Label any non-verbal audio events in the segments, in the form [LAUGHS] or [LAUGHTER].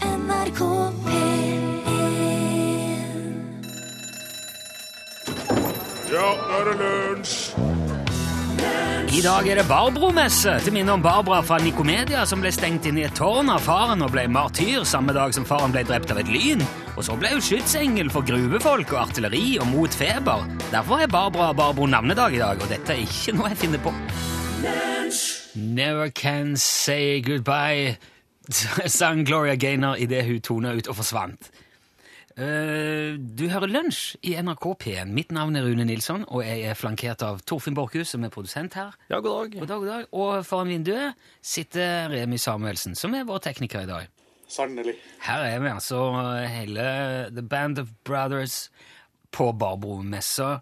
NRK P1 Ja, nå er det lunsj! I dag er det Barbro-messe, til minne om Barbara fra Nikomedia som ble stengt inn i et tårn av faren og ble martyr samme dag som faren ble drept av et lyn. Og så ble hun skytsengel for gruvefolk og artilleri og mot feber. Derfor er Barbara og Barbro navnedag i dag, og dette er ikke noe jeg finner på. Never can say goodbye, [LAUGHS] sang Gloria Gaynor idet hun tona ut og forsvant. Eh, Du hører Lunsj i NRK P1. Mitt navn er Rune Nilsson, og jeg er flankert av Torfinn Borchhus, som er produsent her. Ja, god dag. God dag, god dag. Og foran vinduet sitter Remi Samuelsen, som er vår tekniker i dag. Sannelig. Her er vi altså hele The Band of Brothers på Barbro-messa.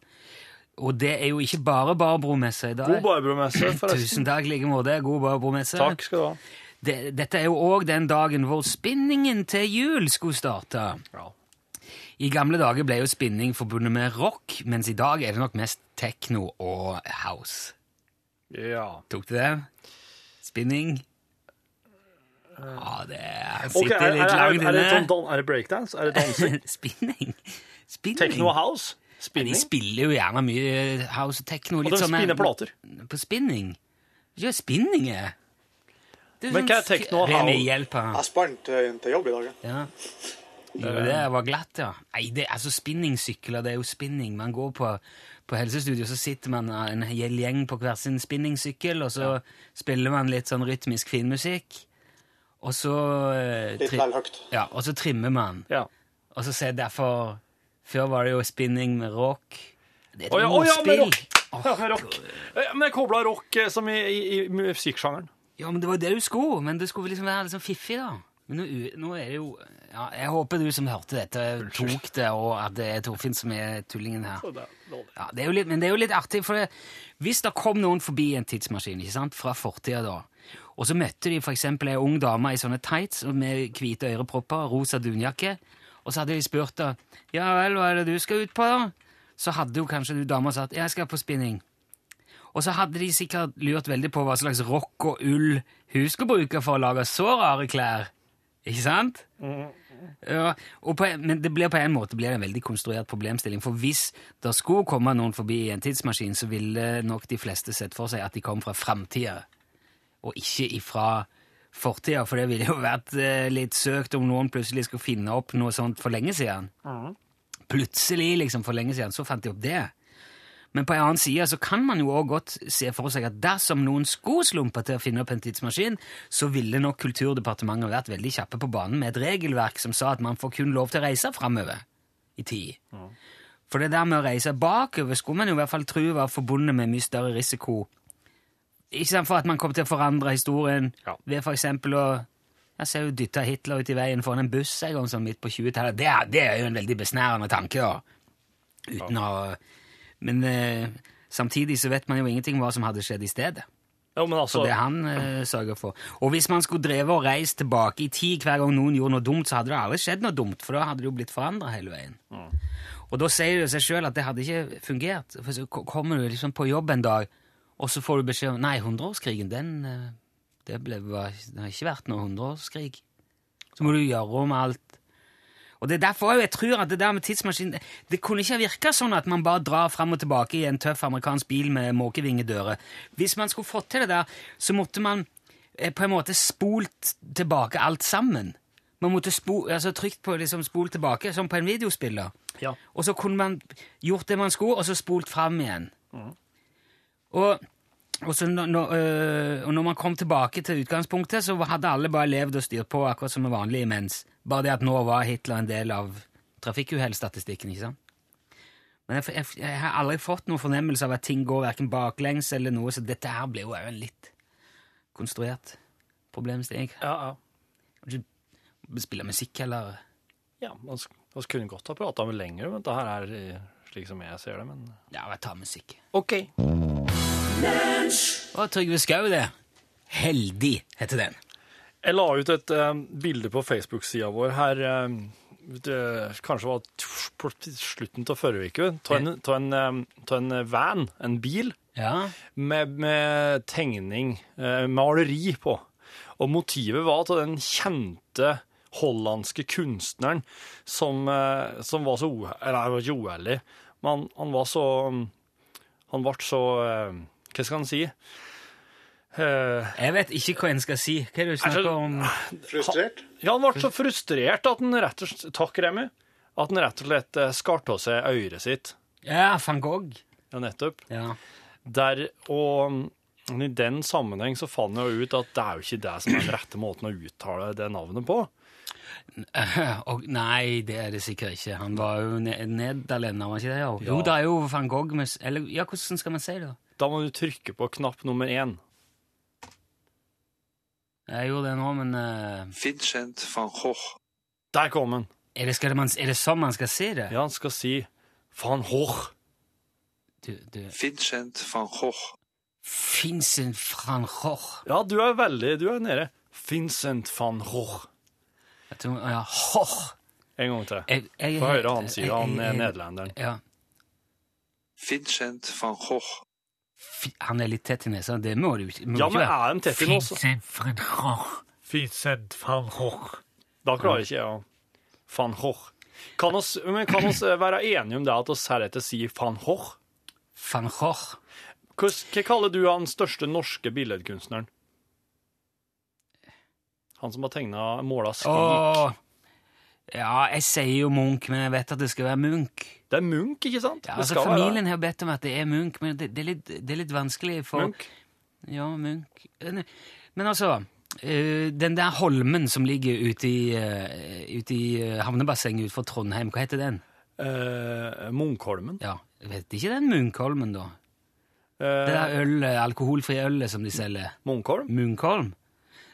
Og det er jo ikke bare Barbro-messa i dag. God [CLEARS THROAT] Barbro-messe, forresten. Tusen takk i like måte. God Barbro-messe. Takk skal du ha. Det- Dette er jo òg den dagen hvor spinningen til jul skulle starte. I gamle dager ble jo spinning forbundet med rock, mens i dag er det nok mest techno og house. Ja. Tok du det? Spinning? Ja, det sitter Eh. Ok, er, er, litt er, langt er, det inne. sånn dan er det breakdance? Er det [LAUGHS] [CLEARS THROAT] dansing? Spinning? Spinning? Techno house? De Spinning? spiller jo gjerne mye house og techno. Og de sånn- spinner plater. På spinning? Ja, spinning er Det Men sånn hva er techno og sk- Remi, house? hjelp her. Jeg spant eh, til, til jobb i dag. jeg. Ja. Jo, det var glatt, ja. Nei, det, altså spinningsykler, det er jo spinning. Man går på, på helsestudio, så sitter man eh, en hel gjeng på hver sin spinningsykkel, og så spiller man litt sånn rytmisk finmusikk, og så eh, Litt tri- vel høyt. Ja, og så trimmer man. Ja. Og så ser jeg derfor Før var det jo spinning med rock. Det er et Å ja, å ja, med ordspill. rock! Ja, rock. Eh, Men jeg kobla rock eh, som i, i, i musikksjangeren. Ja, men det var jo det du skulle, men du skulle liksom være litt sånn fiffig, da. Men nå, u- nå er det jo ja, Jeg håper du som hørte dette, tok det, og at det er Torfinn som er tullingen her. Og det er dårlig. Ja, det er jo litt, men det er jo litt artig, for det, hvis det kom noen forbi en tidsmaskin ikke sant, fra fortida da, og så møtte de f.eks. ei ung dame i sånne tights og med hvite ørepropper og rosa dunjakke, og så hadde de spurt da, ja vel, hva er det du skal ut på, da? Så hadde jo kanskje du dama sagt jeg skal på spinning. Og så hadde de sikkert lurt veldig på hva slags rock og ull hun skulle bruke for å lage så rare klær. Ikke sant? Ja, og på, en- men det blir på en måte blir det en veldig konstruert problemstilling. For hvis det skulle komme noen forbi i en tidsmaskin, så ville nok de fleste sett for seg at de kom fra framtida, og ikke ifra fortida. For det ville jo vært eh, litt søkt om noen plutselig skulle finne opp noe sånt for lenge siden. Plutselig, liksom, for lenge siden, så fant de opp det. Men på en annen side så kan man jo også godt se for seg at dersom noen skulle slumpe til å finne opp en tidsmaskin, så ville nok Kulturdepartementet vært veldig kjappe på banen med et regelverk som sa at man får kun lov til å reise framover i tid. For det der med å reise bakover skulle man jo i hvert fall tro var forbundet med mye større risiko. Ikke sant for at man kom til å forandre historien Ja. ved for eksempel å jeg ser jo dytta Hitler ut i veien foran en buss en gang sånn midt på 20-tallet. Det, er- det er jo en veldig besnærende tanke, da. Uten å men eh, samtidig så vet man jo ingenting hva som hadde skjedd i stedet. Jo, men altså, Så det han eh, sørger for. Og hvis man skulle dreve og reise tilbake i tid hver gang noen gjorde noe dumt, så hadde det aldri skjedd noe dumt, for da hadde det jo blitt forandra hele veien. Og da sier det seg sjøl at det hadde ikke fungert. For så ko- kommer du liksom på jobb en dag, og så får du beskjed om Nei, hundreårskrigen, den eh, det, ble, var, det har ikke vært noen hundreårskrig. Så må du gjøre om alt. Og det er derfor jeg tror at det der med tidsmaskinen Det kunne ikke virka sånn at man bare drar fram og tilbake i en tøff amerikansk bil med måkevingedører. Hvis man skulle fått til det der, så måtte man eh, på en måte spolt tilbake alt sammen. Man måtte spo, altså trykt på liksom spol tilbake, som på en videospiller. Ja. Og så kunne man gjort det man skulle, og så spolt fram igjen. Og, og, så når, når, øh, og når man kom tilbake til utgangspunktet, så hadde alle bare levd og styrt på akkurat som vanlig imens. Bare det at nå var Hitler en del av trafikkuhellstatistikken, ikke sant? Men jeg, f- jeg, f- jeg har aldri fått noen fornemmelse av at ting går hverken baklengs eller noe, så dette her ble jo også en litt konstruert problemstilling. ja, ja. Spiller musikk eller ja man, sk- man kunne godt ha prata med lenger, men det her er eh, slik som jeg ser det, men Ja, jeg tar musikk. OK. Og Trygve Skau, det. Heldig, heter den. Jeg la ut et eh, bilde på Facebook-sida vår her eh, det, Kanskje var t- på slutten av forrige uke. Ta en, ta, en, eh, ta en van, en bil, Ja. med, med tegning, eh, maleri på. Og motivet var til den kjente hollandske kunstneren som, eh, som var så uærlig, eller han var ikke uærlig, men han, han var så, han ble så, eh, hva skal han si? Eh, Jeg vet ikke hva en skal si. Hva er det du så- snakker om? Frustrert? ja, han ble så frustrert at han rett og slett, takk Remi, at han rett og slett eh, skar av seg øret sitt. Ja, van Gogh. Ja, nettopp. Ja. [LAUGHS] Der, og men i den sammenheng så fant jeg jo ut at det er jo ikke det som er den rette måten å uttale det navnet på. Og, nei, det er det sikkert ikke. Han var jo ne nederlender, var ikke det? Jo, jo det er jo van Gogh med s- Eller ja, hvordan skal man si det? Da må du trykke på knapp nummer én. Jeg gjorde det nå, men eh, Vincent van Gogh. Der kom den. er, det, skal man, er det sånn man skal si det? Ja, han skal si van Gogh. Du, du, Vincent van Gogh. Vincent van Gogh. Ja, du er veldig Du er nede. Vincent van Gogh. Jeg tror, ja, Gogh. En gang til. Jeg- jeg- Få høre han sier han jeg- er jeg- nederlenderen. Ja. Vincent van Gogh. Fi- Han er litt tett i nesa. Det må du ikke må Ja, ikke men være. er de tett i nå, så van Gogh. Vincent van Gogh. Da klarer ikke jeg å Van Gogh. Kan oss, men kan oss eh, være enige om det at oss heretter sier van Gogh? Van Gogh. Hva, hva kaller du han største norske billedkunstneren? Han som har tegna måla Skrik. Åh. Ja, jeg sier jo Munch, men jeg vet at det skal være Munch. Det er Munch, ikke sant? Ja, Det altså, skal være det. familien har bedt om at det er Munch, men det, det, er, litt, det er litt vanskelig for Munch. Ja, Munch. Eh, nei. Men altså eh, Den der holmen som ligger ute i, eh, ute i eh, havnebassenget utenfor Trondheim, hva heter den? Eh, Munkholmen. Ja, jeg vet ikke den Munkholmen, da. Det Eh, der øl, alkoholfrie ølet som de selger. Munkholm. Munkholm.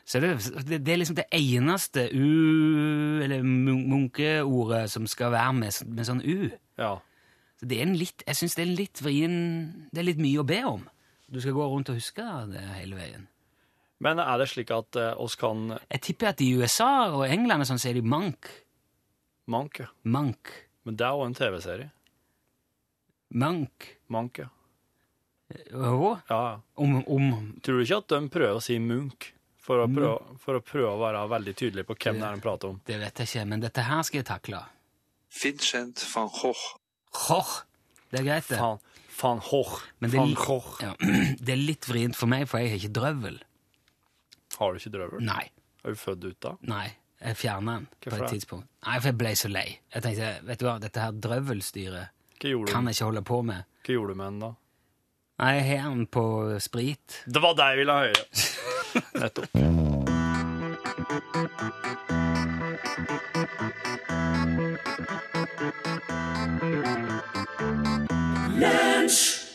Så det, det, det er liksom det eneste u... Eller mun- munkeordet som skal være med, s- med sånn u. Ja. Så det er en litt, jeg syns det er en litt vrien Det er litt mye å be om. Du skal gå rundt og huske det hele veien. Men er det slik at eh, oss kan Jeg tipper at i USA og England og sånn sier de mank. Mank, ja. Mank. Men det er jo en TV-serie. Mank. Mank, ja. Hva? ja. ja. Om, om Tror du ikke at de prøver å si Munch for å prøve, for å, prøve å være veldig tydelig på hvem det er de prater om? Det vet jeg ikke, men dette her skal jeg takle. Vincent van Gogh. Hår. Det er greit, det. Van, van Gogh. Men det er Van li- Gogh. Ja, [CLEARS THROAT] det er litt vrient for meg, for jeg har ikke drøvel. Har du ikke drøvel? Nei. Er du født ut da? Nei, jeg fjerna den på Hvorfor et det? tidspunkt. Nei, for jeg ble så lei. Jeg tenkte, vet du hva, dette her drøvelstyret Hva gjorde kan du, jeg ikke holde på med. hva gjorde du med den da? Nei, jeg har den på sprit. Det var deg jeg ville høre. Nettopp.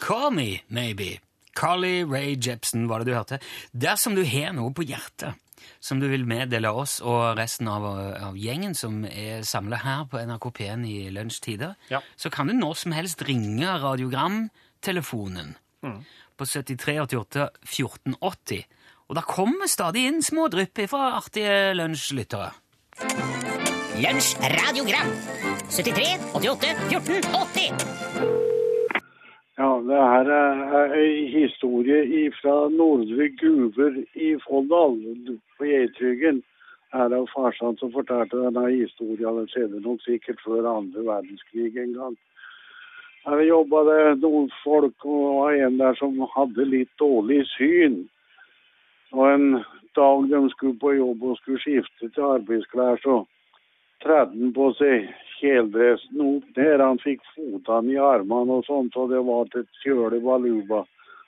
Call me, maybe. Carly Ray Jepsen var det du hørte. Dersom du har noe på hjertet som du vil meddele oss og resten av, av gjengen som er samla her på NRK P1 i lunsjtider, Ja. så kan du når som helst ringe radiogramtelefonen på 7388 1480. Og da kommer stadig inn små drypp fra artige lunsjlyttere. Lunsj, radiogram 73, 88, 14, 80 Ja, det her er er ei historie fra Nordre Guver i Folldal. På Geitryggen er det jo farsan som fortalte denne historien. Den skjedde nok sikkert før andre verdenskrig en gang. Her jobba det noen folk, og det var en der som hadde litt dårlig syn. Og en dag de skulle på jobb og skulle skifte til arbeidsklær, så tredde han på seg kjeledressen opp ned. Han fikk fotene i armene og sånt, og det var til kjøle baluba.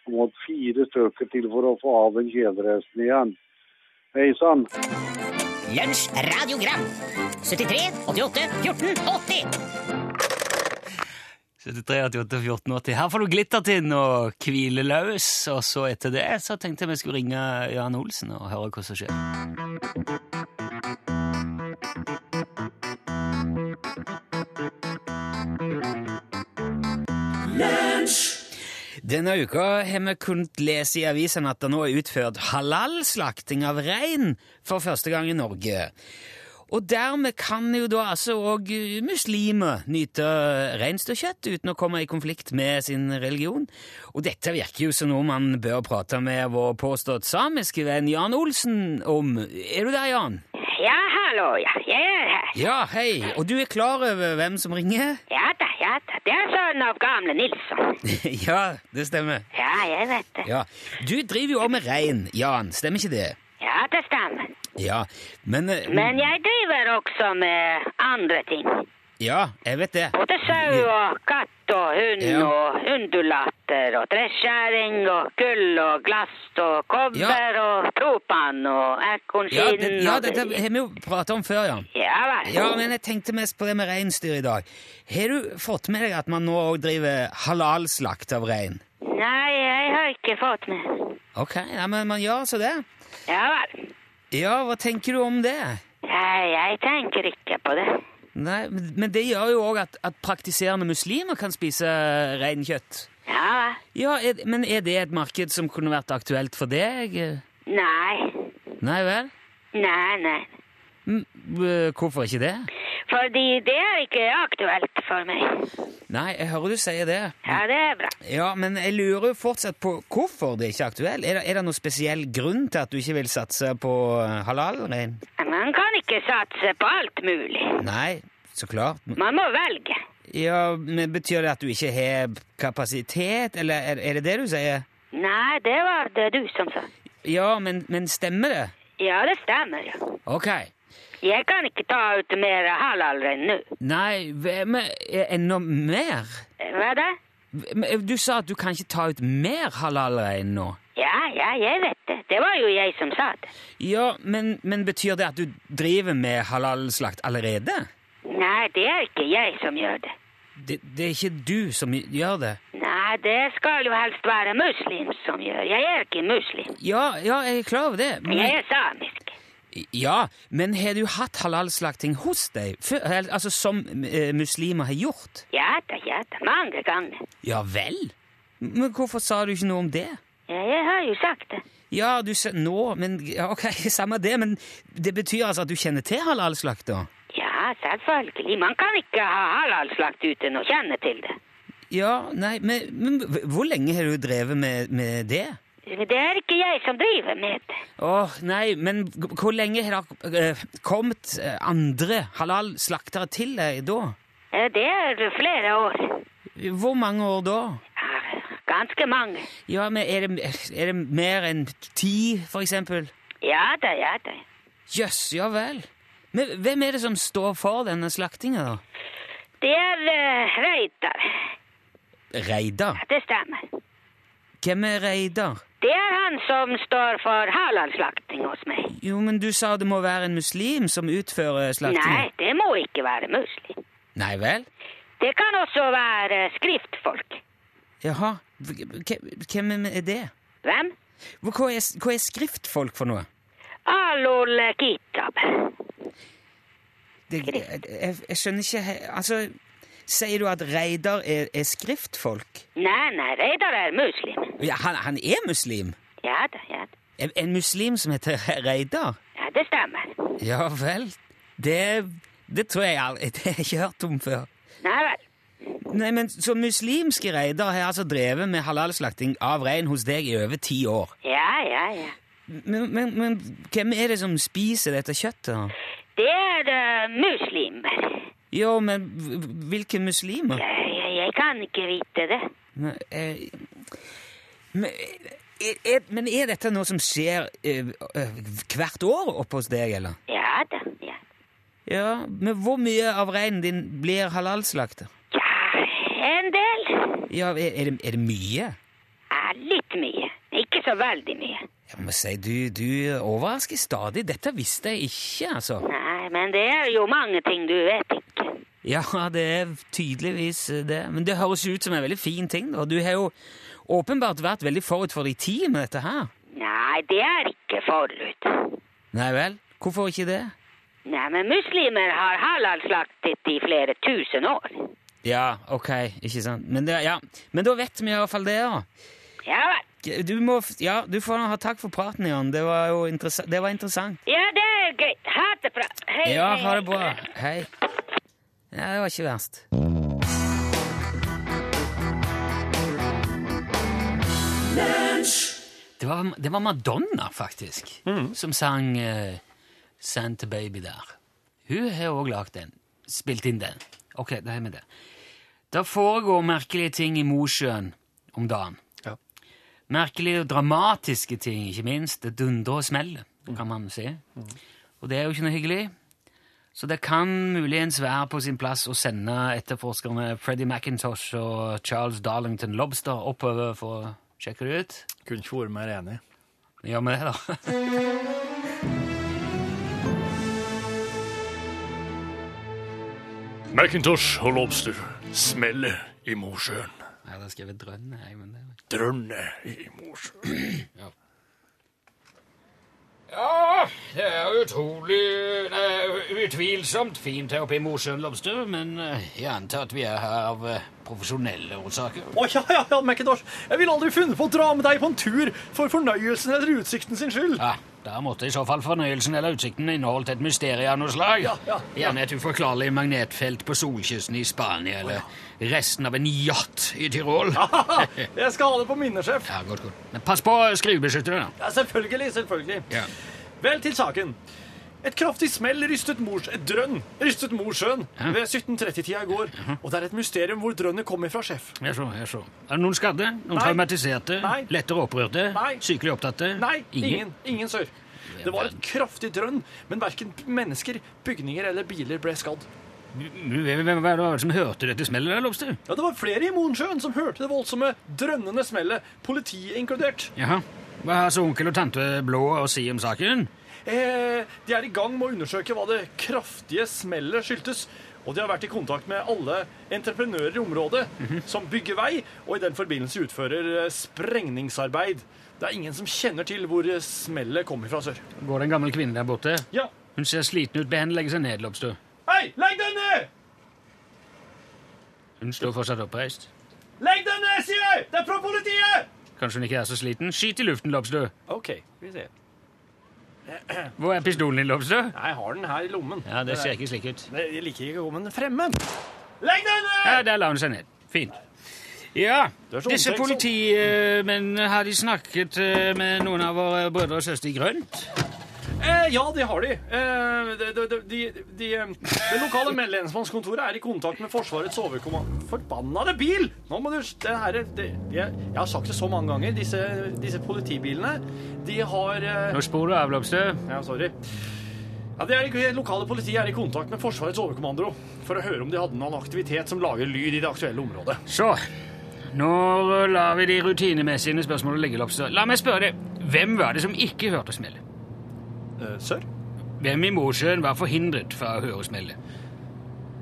Han måtte fire stykker til for å få av den kjeledressen igjen. Hei sann. Lunsj, radiogram 73, 88, 14, 80 7388 1480. Her får du Glittertind og Hvile løs. Og så etter det så tenkte jeg vi skulle ringe Jan Olsen og høre hva som skjer. Denne uka har vi kunnet lese i avisen at det nå er utført halalslakting av rein for første gang i Norge. Og dermed kan jo da altså òg muslimer nyte reinsdyrkjøtt uten å komme i konflikt med sin religion. Og dette virker jo som noe man bør prate med vår påstått samiske venn Jan Olsen om. Er du der, Jan? Ja, hallo, ja. Jeg er her. Ja, hei. Og du er klar over hvem som ringer? [LAUGHS] Ja da, ja da. Det er sønnen av gamle Nilsson. ja, det stemmer. Ja, jeg vet det. Ja. Du driver jo òg med rein, Jan. Stemmer ikke det? Ja, det stemmer. Ja, men eh, Men jeg driver også med andre ting. Ja, jeg vet det. Både sau og katt og hund Ja. og undulater og dresskjæring og gull og glass og kobber og propan og Ja, ekornskinn det, ja, og- dette har vi jo prata om før, Jan. Ja vel. Ja, men jeg tenkte mest på det med reinsdyr i dag. Har du fått med deg at man nå òg driver halalslakt av rein? Nei, jeg har ikke fått med. Ok, ja, men man gjør altså det. Ja vel. Ja, hva tenker du om det? Nei, jeg tenker ikke på det. Nei, men men det gjør jo òg at, at praktiserende muslimer kan spise reinkjøtt. Ja vel. Ja, er, men er det et marked som kunne vært aktuelt for deg? Nei. Nei vel? Nei, nei. Mm, øh, Hvorfor ikke det? Fordi det er ikke aktuelt for meg. Nei, jeg hører du sier det. Ja, det er bra. Ja, men jeg lurer jo fortsatt på hvorfor det ikke er aktuelt. Er det, er det noen spesiell grunn til at du ikke vil satse på eh, halal-rein? Man kan ikke satse på alt mulig. Nei, så klart. Men- Man må velge. Ja, men Betyr det at du ikke har kapasitet, eller er, er det det du sier? Nei, det var det du som sa. Ja, men, men stemmer det? Ja, det stemmer jo. Ok. Jeg kan ikke ta ut mer halal enn nå. Nei, hvem er er enda mer? Hva da? Hvem- eh, Du sa at du kan ikke ta ut mer halal-rein nå. Ja, ja, jeg vet det. Det var jo jeg som sa det. Ja, men, men betyr det at du driver med halalslakt allerede? Nei, det er ikke jeg som gjør det. Det, det er ikke du som gjør det. Nei, det skal jo helst være muslim som gjør. Jeg er ikke muslim. Ja, ja, jeg er klar over det. Jeg er samisk. ja, men har du hatt halalslakting hos deg? Før, eller, altså som eh, muslimer har gjort? Ja da, ja da. Mange ganger. Ja vel? Men hvorfor sa du ikke noe om det? Ja, jeg har jo sagt det. Ja, du sa nå, men ja, ok, [LAUGHS] samme det, men det betyr altså at du kjenner til halalslakt da? Ja, selvfølgelig. Man kan ikke ha halalslakt uten å kjenne til det. Ja, nei, men, men h- hvor lenge har du drevet med, med det? Det er ikke jeg som driver med det. Åh, nei, men g- hvor lenge har det eh, kommet eh, andre halalslaktere til deg da? Eh, Det er flere år. Hvor mange år da? Ja, Ganske mange. Ja, men er det, er det mer enn ti, for eksempel? Ja da, ja da. Jøss, ja vel. Men hvem er det som står for denne slaktinga, da? Det er uh, Reidar. Reidar? Det stemmer. Hvem er Reidar? Det er han som står for halalslakting hos meg. Jo, men du sa det må være en muslim som utfører Nei, slaktinga. det må ikke være muslim. Nei vel? Det kan også være skriftfolk. Jaha. Hvem hvem er det? Hvem? Hva hva er, hva er skriftfolk for noe? Alul Kitab. Det, jeg, jeg jeg skjønner ikke he- Altså, sier du at Reidar er, er skriftfolk? Nei, nei, Reidar er muslim. Ja, han, han er muslim? Ja da, ja da. En, en muslim som heter Reidar? Ja, det stemmer. Ja vel. Det, det tror jeg aldri [LAUGHS] Det har jeg ikke hørt om før. Nei vel. Nei, men Så muslimske reider har altså drevet med halalslakting av rein hos deg i over ti år. Ja, ja, ja. Men, men, men hvem er det som spiser dette kjøttet? da? Det er eh, muslimer. Eh, Jo, men hv- hvilke muslimer? Jeg, jeg kan ikke vite det. Men, eh, men, eh, er, er, men er dette noe som skjer eh, eh, hvert år oppe hos deg, eller? Ja da, ja. Ja, Men hvor mye av reinen din blir halalslakta? Ja, en del. Ja, er, er, det, er det mye? Ja, litt mye. Ikke så veldig mye. Jeg må si, du, du overrasker stadig. Dette visste jeg ikke, altså. Nei, men det er jo mange ting du vet ikke. Ja, det er tydeligvis det. Men det høres jo ut som en veldig fin ting, da. Du har jo åpenbart vært veldig forut for din tid med dette her. Nei, det er ikke forut. Nei vel? Hvorfor ikke det? Nei, men muslimer har halalslaktet i flere tusen år. Ja, ok, ikke sant. Men, det, ja. Men da vet vi i hvert fall det, da. Ja vel. Du, må, f- ja, du får ha takk for praten, Jan. Det var jo interessa det var interessant. Ja, det er greit. Ha det bra. Hei, Ja, hei, ha det hei. bra. Hei. Ja, det var ikke verst. Det var, det var Madonna, faktisk, Mm. som sang eh, Santa Baby der. Hun har òg lagd den. Spilt inn den. Ok, da har vi det. Det foregår merkelige ting i Mosjøen om dagen. Ja. Merkelige og dramatiske ting, ikke minst. Det dundrer og smeller, kan man si. Mm. Og det er jo ikke noe hyggelig. Så det kan muligens være på sin plass å sende etterforskerne Freddie McIntosh og Charles Darlington Lobster oppover for å sjekke det ut. Kunne ikke vært mer enig. Ja, men det, da. Macintosh og lobster smeller i Mosjøen. [LAUGHS] Jeg hadde skrevet drønn, jeg, men det Drønner i Mosjøen. Ja, det er utrolig nei, Utvilsomt fint her oppe i Mosjøen, Lobster, men eh, jeg antar at vi er her av eh, profesjonelle årsaker. Å ja, ja, ja, Macintosh. Jeg ville aldri funnet på å dra med deg på en tur for fornøyelsen eller utsikten sin skyld. Ja, Der måtte i så fall fornøyelsen eller utsikten inneholdt et mysterium av noe slag. Ja, ja, ja. Gjerne et uforklarlig magnetfelt på solkysten i Spania, eller resten av en yacht i [LAUGHS] Tyrol. Jeg skal ha det på minnet, sjef. Ja, godt, godt. Men pass på eh, skrubeskytterne. da. Ja, selvfølgelig, selvfølgelig. Ja. Vel til saken. Et kraftig smell rystet mors, et drønn rystet Mosjøen ved 17.30-tida i går. Og det er et mysterium hvor drønnet kommer fra, sjef. Jeg så, jeg så. Er det noen skadde? Noen Nei. traumatiserte? Nei. Lettere opprørte? Nei. Sykelig opptatte? Nei, ingen. Ingen, sør. Det var et kraftig drønn, men verken mennesker, bygninger eller biler ble skadd. Hvem hvem var det var det som hørte dette smellet der, Lobster? Ja, Det var flere i Mosjøen som hørte det voldsomme, drønnende smellet, politiet inkludert. Jaha. Hva har så onkel og tante Blå å si om saken? Eh, de er i gang med å undersøke hva det kraftige smellet skyldtes. Og de har vært i kontakt med alle entreprenører i området som bygger vei, og i den forbindelse utfører eh, sprengningsarbeid. Det er ingen som kjenner til hvor eh, smellet kommer fra sør. Går det en gammel kvinne der borte? Ja. Hun ser sliten ut. Be henne legge seg ned, Lobster. Hei, legg deg ned! Hun står fortsatt oppreist. Legg deg ned, sier jeg! Det er fra politiet! Kanskje hun ikke er så sliten? Skyt i luften, Lobster. OK, vi ser. Hvor er pistolen din, Lobster? Jeg har den her i lommen. Ja, det ser ikke slik ut. Jeg liker ikke å gå med den fremme. Legg deg ned! Ja, der la hun seg ned. Fint. Ja, Det er så disse omtenksom. politimennene, har de snakket eh, med noen av våre brødre og søstre i grønt? Eh, ja, det har de. Eh, de, de, de, de, de eh, det lokale med- lensmannskontoret er i kontakt med Forsvarets overkommando... Forbannede bil! Nå må du det her, det, jeg, jeg har sagt det så mange ganger. Disse, disse politibilene, de har eh, Nå spor du av, Lobster. Ja, sorry. Ja, det, er, i- det lokale politiet er i kontakt med Forsvarets overkommando for å høre om de hadde noen aktivitet som lager lyd i det aktuelle området. Så, nå lar vi de rutinemessige spørsmålene ligge, Lobster. La meg spørre deg, hvem var det som ikke hørte smellet? Eh, sør? Hvem i Mosjøen var forhindret fra å høre smellet?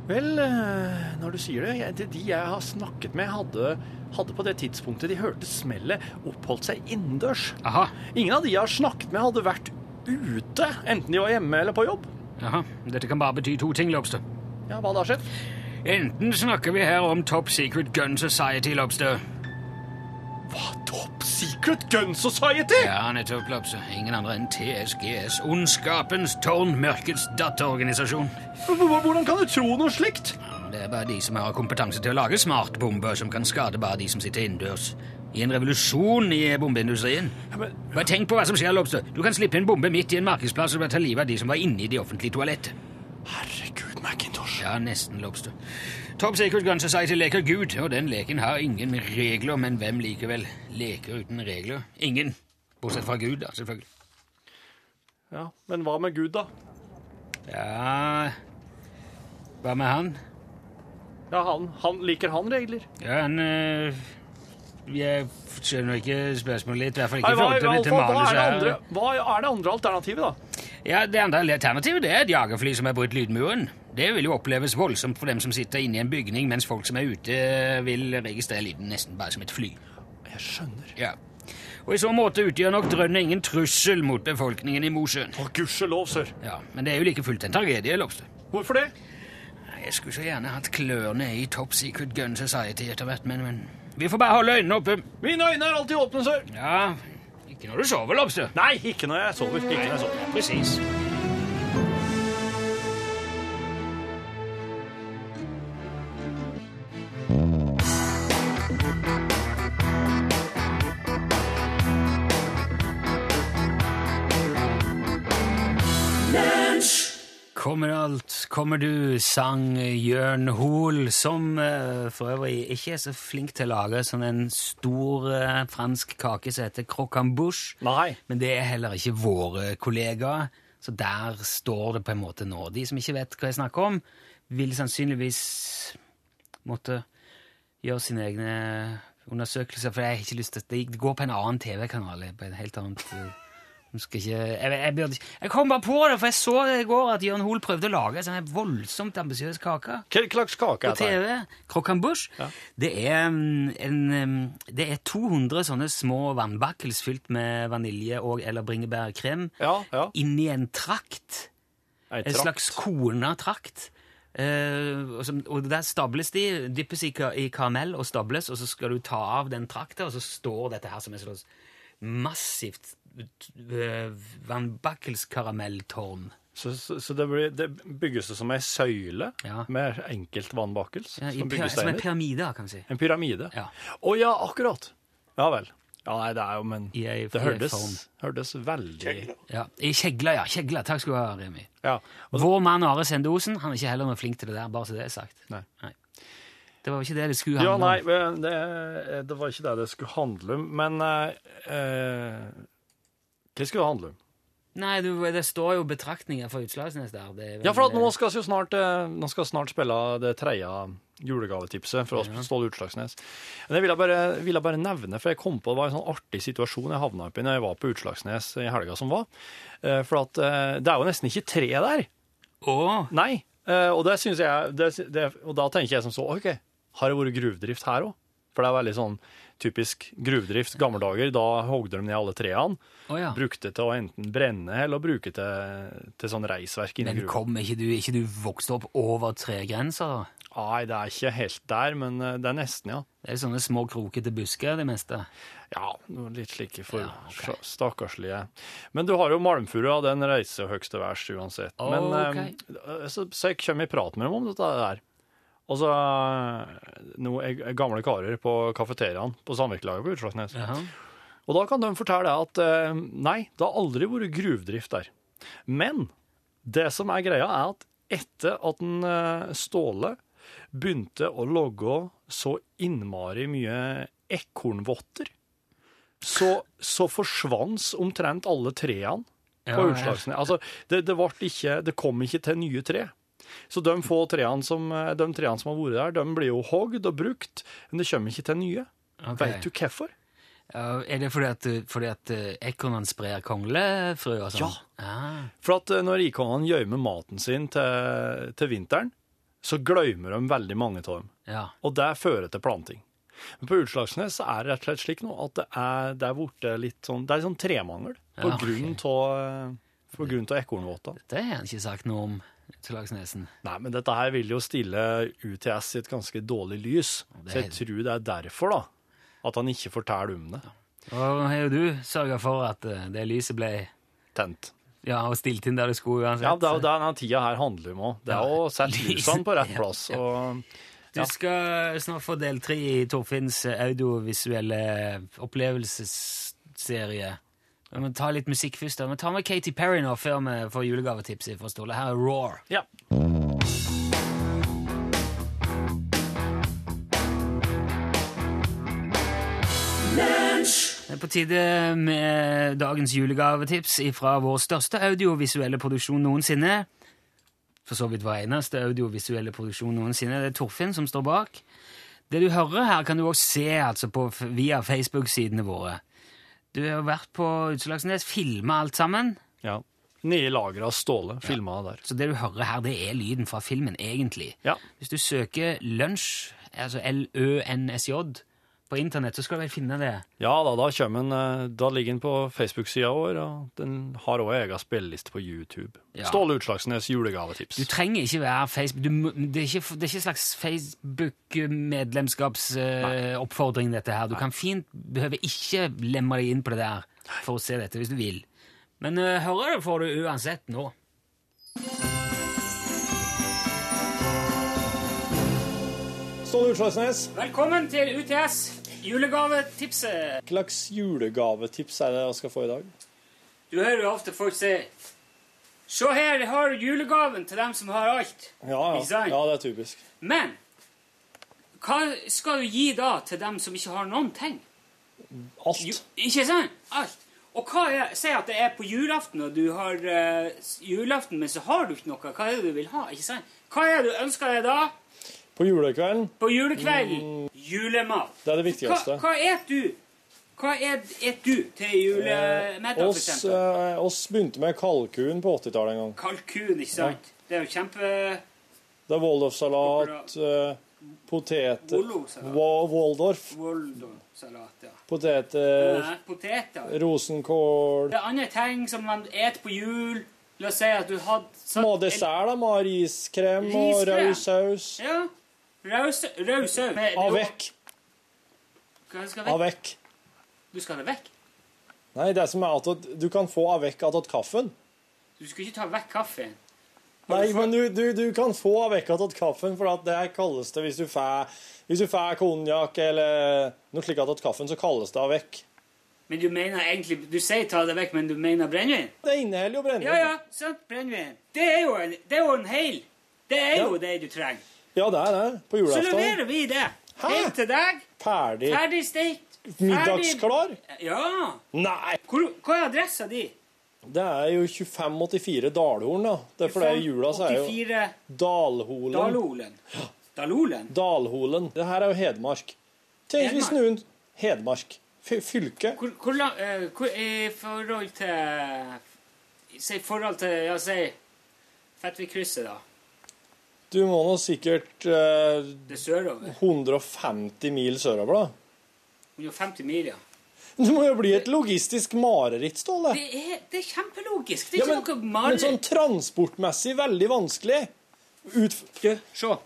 Vel, eh, når du sier det, jeg, det de jeg har snakket med, hadde, hadde på det tidspunktet de hørte smellet, oppholdt seg innendørs. Aha, Ingen av de jeg har snakket med, hadde vært ute, enten de var hjemme eller på jobb. aha. Dette kan bare bety to ting, Lobster. Ja, hva da, sjef? Enten snakker vi her om Top Secret Gun Society, Lobster. Hva, Top Secret Gun Society? Ja, nettopp, Lobster. Ingen andre enn TSGS, Ondskapens Tårn, Mørkets datterorganisasjon. H- h- Hvordan kan du tro noe slikt? Det er bare de som har kompetanse til å lage smartbomber som kan skade bare de som sitter innendørs. I en revolusjon i bombeindustrien. Ja, men, Bare tenk på hva som skjer, Lobster. Du kan slippe en bombe midt i en markedsplass og bare ta livet av de som var inne i de offentlige toalettene. herregud, Macintosh. Ja, nesten, Lobster. Top Secret Gun Society leker Gud, og den leken har ingen regler, men hvem likevel leker uten regler? Ingen. Bortsett fra Gud, da, selvfølgelig. Ja, men hva med Gud, da? Ja Hva med han? Ja, han, han liker han regler. Ja, han øh, Jeg skjønner ikke spørsmålet ditt. I hvert fall ikke Nei, i hva, forhold til hva, dette hva, hva, er manuset det her. andre, hva er det andre alternativet, da? Ja, Det andre alternativet det er et jagerfly som har brutt lydmuren. Det vil jo oppleves voldsomt for dem som sitter inne i en bygning, mens folk som er ute, vil registrere lyden nesten bare som et fly. Jeg skjønner. Ja. Og i så måte utgjør nok drønnet ingen trussel mot befolkningen i Mosjøen. Å, gudskjelov, sør. Ja, Men det er jo like fullt en tragedie, Lobster. Hvorfor det? Jeg skulle så gjerne hatt klørne i Top Secret Gun Society etter hvert, men, men Vi får bare holde øynene oppe. Mine øyne er alltid åpne, sir. Ja, ikke når du sover, Lobster. Nei, ikke når jeg sover. Ikke når jeg sånn, sover. Presis. Kommer alt, kommer du, sang Jørn Hoel, som eh, for øvrig ikke er så flink til å lage sånn en stor eh, fransk kake som heter croquembouche. Nei. Men det er heller ikke våre kollegaer, så der står det på en måte nå. De som ikke vet hva jeg snakker om, vil sannsynligvis måtte gjøre sine egne undersøkelser, for jeg har ikke lyst til at det går på en annen TV-kanal, på en helt annet... eh, jeg, skal ikke, jeg, jeg, burde, ikke- jeg kom bare på det, for jeg så det i går at Jørn Hoel prøvde å lage en sånn her voldsomt ambisiøs kake Hva slags kake på er dette? TV. Croquembouche. Det, er mm, en, mm, det er 200 sånne små vannbakkels fylt med vanilje og eller bringebærkrem Ja, ja. inni en trakt. Ei En trapp. slags kona trakt. Eh, og, som, og der stables de, dyppes i, ka- i karamell og stables, og så skal du ta av den trakta, og så står dette her som en slags massivt eh, vannbakkelskaramelltårn. Så, så, så det, blir, det bygges det som ei søyle Ja. med enkelt vannbakkels Ja, i som pyra- som en byggesteiner? pyramide, kan vi si. En pyramide? Ja. Å ja, akkurat. Ja vel. Ja, nei, det er jo, men I ei- det i ei hørtes, form. hørtes veldig Kjegler. Ja, I Kjegla, ja. Kjegla, Takk skal du ha, Remi. Ja. Og, Vår mann Are Sende Osen han er ikke heller noe flink til det der, bare så det er sagt. Nei. Det var jo ikke det det skulle ja, handle nei, om. men det, det var ikke det det skulle handle om, men eh, eh, Hva skulle det handle om? Nei, du, det står jo betraktninger for Utslagsnes der. Det er vel- Ja, for at nå skal vi jo snart, eh, nå skal vi snart spille det tredje julegavetipset fra oss på Ståle Utslagsnes. Men jeg ville bare, ville bare nevne, for jeg kom på det var en sånn artig situasjon jeg havna opp i når jeg var på Utslagsnes i helga som var. Eh, For at eh, det er jo nesten ikke tre der. Å, Nei. Eh, Og, det synes jeg, det, det, og da tenker jeg som så, OK, har det vært gruvedrift her òg? For det er veldig sånn typisk gruvedrift. Gamle dager, da hogde de ned alle trærne. å ja. Brukte til å enten brenne eller bruke til, til sånn reisverk inni Men gruva. kom ikke du, ikke du vokste opp over tregrensa, da? Nei, det er ikke helt der, men eh, det er nesten, ja. Det er sånne små krokete busker, det meste. Ja, noe litt slike for Ja, ok. sja- stakkarslige. Men du har jo malmfurua, den reiser jo høyeste værs uansett. Men eh, så, så jeg kommer i prat med dem om dette der. Og så eh, noen eh, gamle karer på kafeteriaen på Samvirkelaget på Utslagsnes. Jaha. Og da kan de fortelle at eh, nei, det har aldri vært gruvdrift der. Men det som er greia, er at etter at en eh, Ståle begynte å logge så innmari mye ekornvotter, så, så forsvant omtrent alle trærne på Ja, utslagsene. Altså, det, det, vart ikke, det kom ikke til nye tre. Så de få trærne som, eh, de trærne som har vært der, de blir jo hogd og brukt, men det kommer ikke til nye. Ok. Vet du hvorfor? Ja, Er det fordi at, fordi at eh, ekornene sprer konglefrø og sånn? Ja. Ah, For at eh, når rikongene gjemmer maten sin til, til vinteren, så glemmer de veldig mange av dem. ja. Og det fører til planting. Men på Utslagsnes så er det rett og slett slik nå at det er, det er borte litt sånn Det er sånn tremangel Ja, på ok. grunn av eh, på grunn av ekornvåta. Det har han ikke sagt noe om, Utslagsnesen. Nei, men dette her vil jo stille UTS i et ganske dårlig lys. Det Så jeg er- tror det er derfor, da, at han ikke forteller om det. Og har jo du sørga for at eh, det lyset ble Tent. Ja, og stilt inn der det skulle uansett. Ja, det er jo det denne tida her handler om òg. Det er å sette Lys. lysene på [LAUGHS] rett Ja, plass. ja. og... Du skal snart få del tre i Torfinns audiovisuelle opplevelsesserie. Vi må ta litt musikk først. da. Vi tar med Katy Perry nå før vi får julegavetipset fra Ståle. Her er Roar. Ja. Det er på tide med dagens julegavetips fra vår største audiovisuelle produksjon noensinne. For så vidt vår eneste audiovisuelle produksjon noensinne. Det er Torfinn som står bak. Det du hører her, kan du også se altså på, f- via Facebook-sidene våre. Du har vært på Utslagsnes, filma alt sammen. Ja. Nede i lageret av Ståle, filma det der. Så det du hører her, det er lyden fra filmen, egentlig. Ja. Hvis du søker lunsj, altså L-Ø-N-S-J, på internett, så skal du vel finne det. Ja da, da, kommer den, eh, da ligger den på Facebook-sida vår, og den har òg egen spilleliste på YouTube. Ja. Ståle Utslagsnes Du julegavetips. trenger ikke være Facebook du, må- Det er ikke, det er ikke en slags Facebook-medlemskapsoppfordring, dette her. Du kan fint behøver ikke lemme deg inn på det der for å se dette hvis du vil. Men eh, hører det får du uansett nå. Ståle Utslagsnes, Velkommen til UTS julegavetipset. hva slags julegavetips er det jeg skal få i dag? Du hører jo ofte folk si Se her, jeg har julegaven til dem som har alt. Ikke sant? det er typisk. Men hva skal du gi da til dem som ikke har noen ting? Jo, ikke sant? Alt. Og hva er, Si at det er på julaften, og du har eh, s- julaften, men så har du ikke noe. Hva er det du vil ha? ikke sant? Hva er det du ønsker deg da? På julekvelden, På julekvelden? Julemat. Mm. det er det Hva, hva et du? Hva et, et du til Eh, julemiddag, for eksempel? begynte med kalkun på 80-tallet en gang. Kalkun, ikke sant? Det er jo kjempe... Det er Waldorf-salat, eh, poteter Waldorf-salat. Wa- Waldorf. Waldorfsalat, ja. Poteter, Nei, Poteter. rosenkål Det er andre ting som man et på jul. La oss si at du hadde satt Må ha dessert, da. Må ha riskrem og Riskrem? rød saus. en- Ja. Raus raus saus. Men det er jo- Avec. Hva skal vekk? Avec. Du skal ha det vekk? Nei, det som er at du kan få avec attåt kaffen. Du skal ikke ta vekk kaffen. Nei, men du, du, du kan få avec attåt kaffen, for at det her kalles det hvis du får Hvis du får konjakk eller noe slikt attåt kaffen, så kalles det avec. Men du mener egentlig Du sier ta det vekk, men du mener brennevin? Det inneholder jo brennevin. Ja ja, sant, brennevin. Det er jo en, det er jo en hel. Det er jo det du trenger. Ja, det er det. På Så julaften. leverer vi det. Helt til deg. Ferdig. Ferdig stekt. ferdig- Middagsklar? Ja. Nei! Hvor, hva er adressa di? Det er jo 2584 Dalhorn, da. Det er fordi jula så er jo 84 Dalholen. Dalolen. Dalolen? Dalholen. Det her er jo Hedmark. Tenk hvis Hedmark? noen Hedmark. Fy- Fylke. Hvor, hvor lang eh, hvor, I forhold til Si i forhold til Ja, si Fettvikkrysset, da. Du må nå sikkert eh, Det er sørover. 150 mil sørover, da. 150 mil, ja. Det må jo bli et logistisk mareritt, Ståle. Det er, det er kjempelogisk. Det Ja, er men, ikke noe men sånn mareritt. transportmessig veldig vanskelig. Ut... Du, se.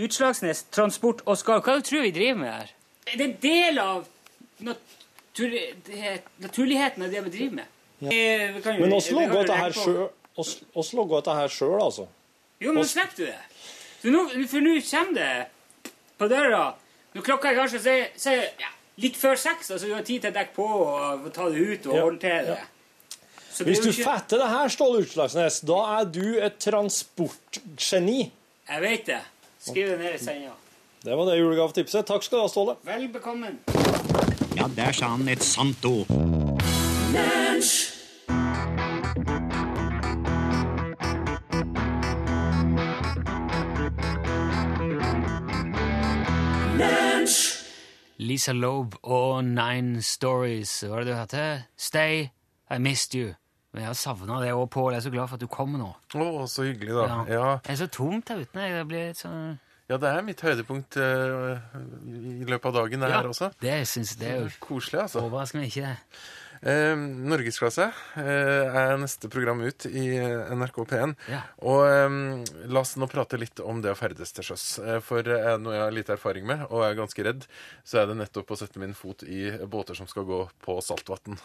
Utslagsnes Transport Oskar, hva tror du vi driver med her? Det er en del av natur, det, naturligheten av det vi driver med. Eh, vi kan jo- Men vi oss kan jo logger dette her legge på- sjøl, oss, oss logger dette her sjøl, altså. Jo, men nå slipper du det. Så nå, for nå kommer det på døra. Når klokka er kanskje så, så, ja, litt før seks, altså du har tid til å dekke på og få ta det ut og Ja, ordne til det. Så Hvis det er du jo ikke, fatter det her, Ståle Utslagsnes, da er du et transportgeni. Jeg vet det. Skriv det ned i senga. Det var det julegavetipset. Takk skal du ha, Ståle. Vel bekommen. Ja, der sa han et sant ord. Lisa Loeb og Nine Stories. Hva var det du hørte? Stay, I missed you. Men jeg har savna det òg, Pål. Jeg er så glad for at du kommer nå. Å, så hyggelig, da. Ja. Jeg er så tomt der ute. Jeg blir litt sånn ja, det er mitt høydepunkt eh, i løpet av dagen det her også. Det syns jeg det er jo Koselig, altså. Overrasker meg ikke, det. Eh, Norgesklasse eh, er neste program ut i eh, NRK P1. Ja. Og eh, la oss nå prate litt om det å ferdes til sjøs. Eh, for eh, noe jeg har lite erfaring med, og er ganske redd, så er det nettopp å sette min fot i båter som skal gå på saltvann.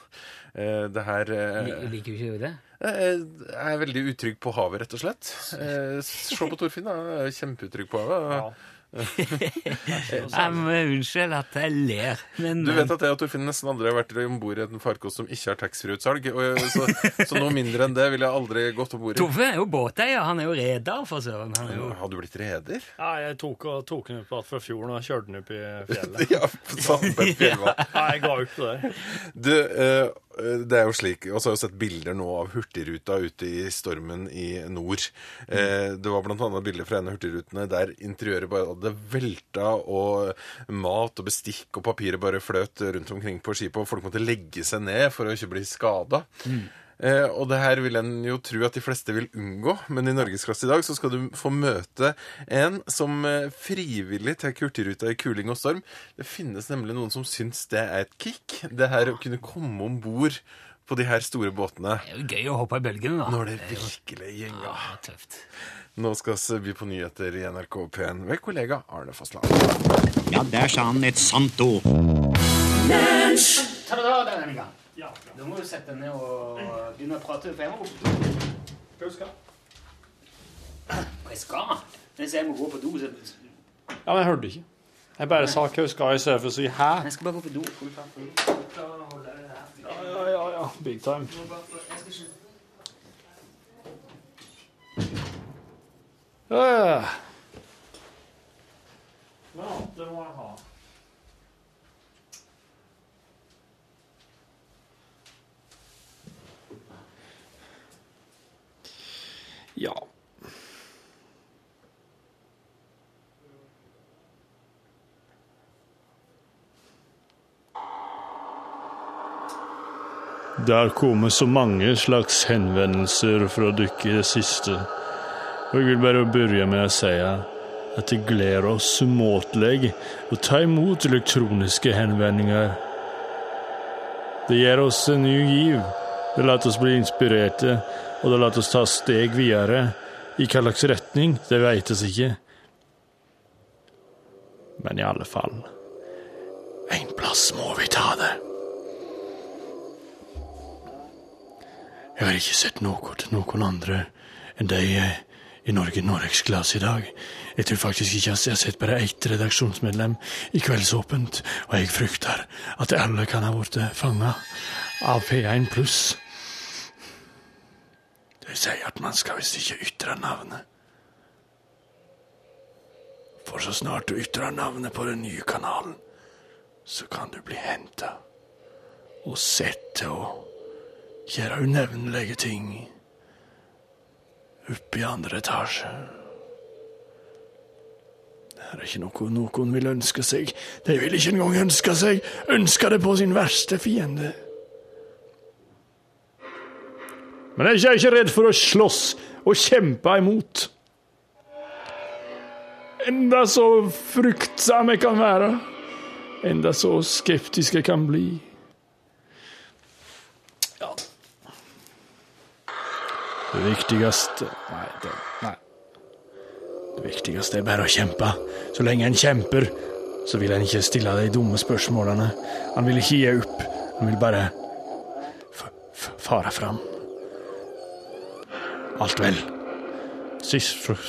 Eh, det her eh, Lik- Liker du ikke det? eh, er veldig utrygg på havet, rett og slett. Eh, se på Torfinn, da. Han er Kjempeutrygg på havet. Jeg må unnskylde at jeg ler, men Du vet at jeg og Torfinn nesten aldri har vært om bord i en farkost som ikke har taxfree-utsalg. og jeg- Så, så noe mindre enn det ville jeg aldri gått om bord i. Torfinn eh, er jo båteier, han er jo reder, for søren. Han er jo Har du blitt reder? Nei, jeg tok, tok den opp igjen fra fjorden og kjørte den opp i fjellet. Ja, på Sandberg Fjellvann. Nei, jeg ga opp det der. Du, eh, det er jo slik, og så har jeg sett bilder nå av Hurtigruta ute i stormen i nord. Eh, Det var blant annet bilder fra en av Hurtigrutene der interiøret bare hadde velta, og mat og bestikk og papiret bare fløt rundt omkring på skipet, og folk måtte legge seg ned for å ikke bli skada. Eh, og det her vil en jo tro at de fleste vil unngå, men i Norgesklasse i dag så skal du få møte en som eh, frivillig tar Hurtigruta i kuling og storm. Det finnes nemlig noen som syns det er et kick, det her å kunne komme om bord på de her store båtene. Det er jo gøy å hoppe i bølgene, da. Når det virkelig gjenger. tøft. Nå skal vi by på nyheter i NRK P1 med kollega Arne Fossland. Ja, der sa han et sant ord. Ta det av denne gang. Da må du sette deg ned og begynne å prate. For jeg må Hva skal Jeg skal? Hvis jeg må gå på do, så Ja, men jeg hørte ikke. Jeg bare sa hva hun skal i stedet for å si hæ. Jeg skal bare gå på do. Ja, ja, ja, ja. Big time. Ja, ja. Ja, det må jeg ha. Ja. Det har kommet så mange slags henvendelser fra dere i det siste. Og jeg vil bare begynne med å si at det gleder oss umåtelig å ta imot elektroniske henvendinger. Det gir oss en ny giv. Det lar oss bli inspirerte, og det lar oss ta steg videre. I hva slags retning, det veites ikke. Men i alle fall En plass må vi ta det. Jeg har ikke sett noe til noen andre enn de eh, i Norge Norgesklasse i dag. Jeg tror faktisk ikke jeg har- jeg har sett bare ett redaksjonsmedlem i Kveldsåpent, og jeg frykter at alle kan ha blitt fanga av P1 pluss. De sier at man skal visst ikke ytre navnet. For så snart du ytrer navnet på den nye kanalen, så kan du bli henta og sett og gjøre unevnelige ting oppe i andre etasje. Det er ikke noe noen vil ønske seg. De vil ikke engang ønske seg ønske det på sin verste fiende. Men jeg er ikke redd for å slåss og kjempe imot. Enda så fryktsam jeg kan være, enda så skeptisk jeg kan bli. Det viktigste Nei, det, nei. Det viktigste er bare å kjempe. Så lenge en kjemper, så vil en ikke stille de dumme spørsmålene. Han vil ikke gi opp. Han vil bare f f fare fram. Alt vel. Sist fr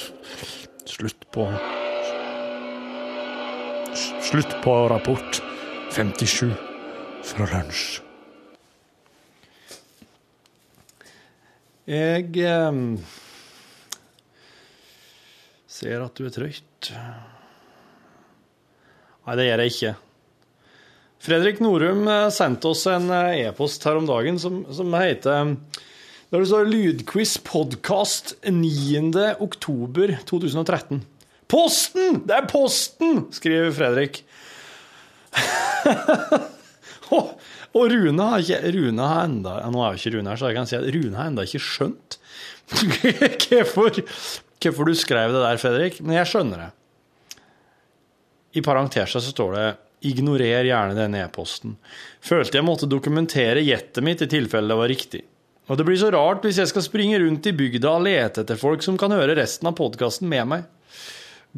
Slutt på s- Slutt på rapport 57 fra lunsj. Jeg ehm, ser at du er trøtt. Nei, det gjør jeg ikke. Fredrik Norum eh, sendte oss en eh, e-post her om dagen som, som heter ehm, Der det står 'Lydquiz podkast 9. oktober 2013'. Posten! Det er Posten! skriver Fredrik. Og og Rune har ikke Rune har enda, ja, Nå er jo ikke Rune her, så jeg kan si at Rune har enda ikke skjønt [LAUGHS] hvorfor, hvorfor du skrev det der, Fredrik. Men jeg skjønner det. I parenteser så står det 'Ignorer gjerne denne e-posten'. Følte jeg måtte dokumentere gjettet mitt i tilfelle det var riktig. Og det blir så rart hvis jeg skal springe rundt i bygda og lete etter folk som kan høre resten av podkasten med meg.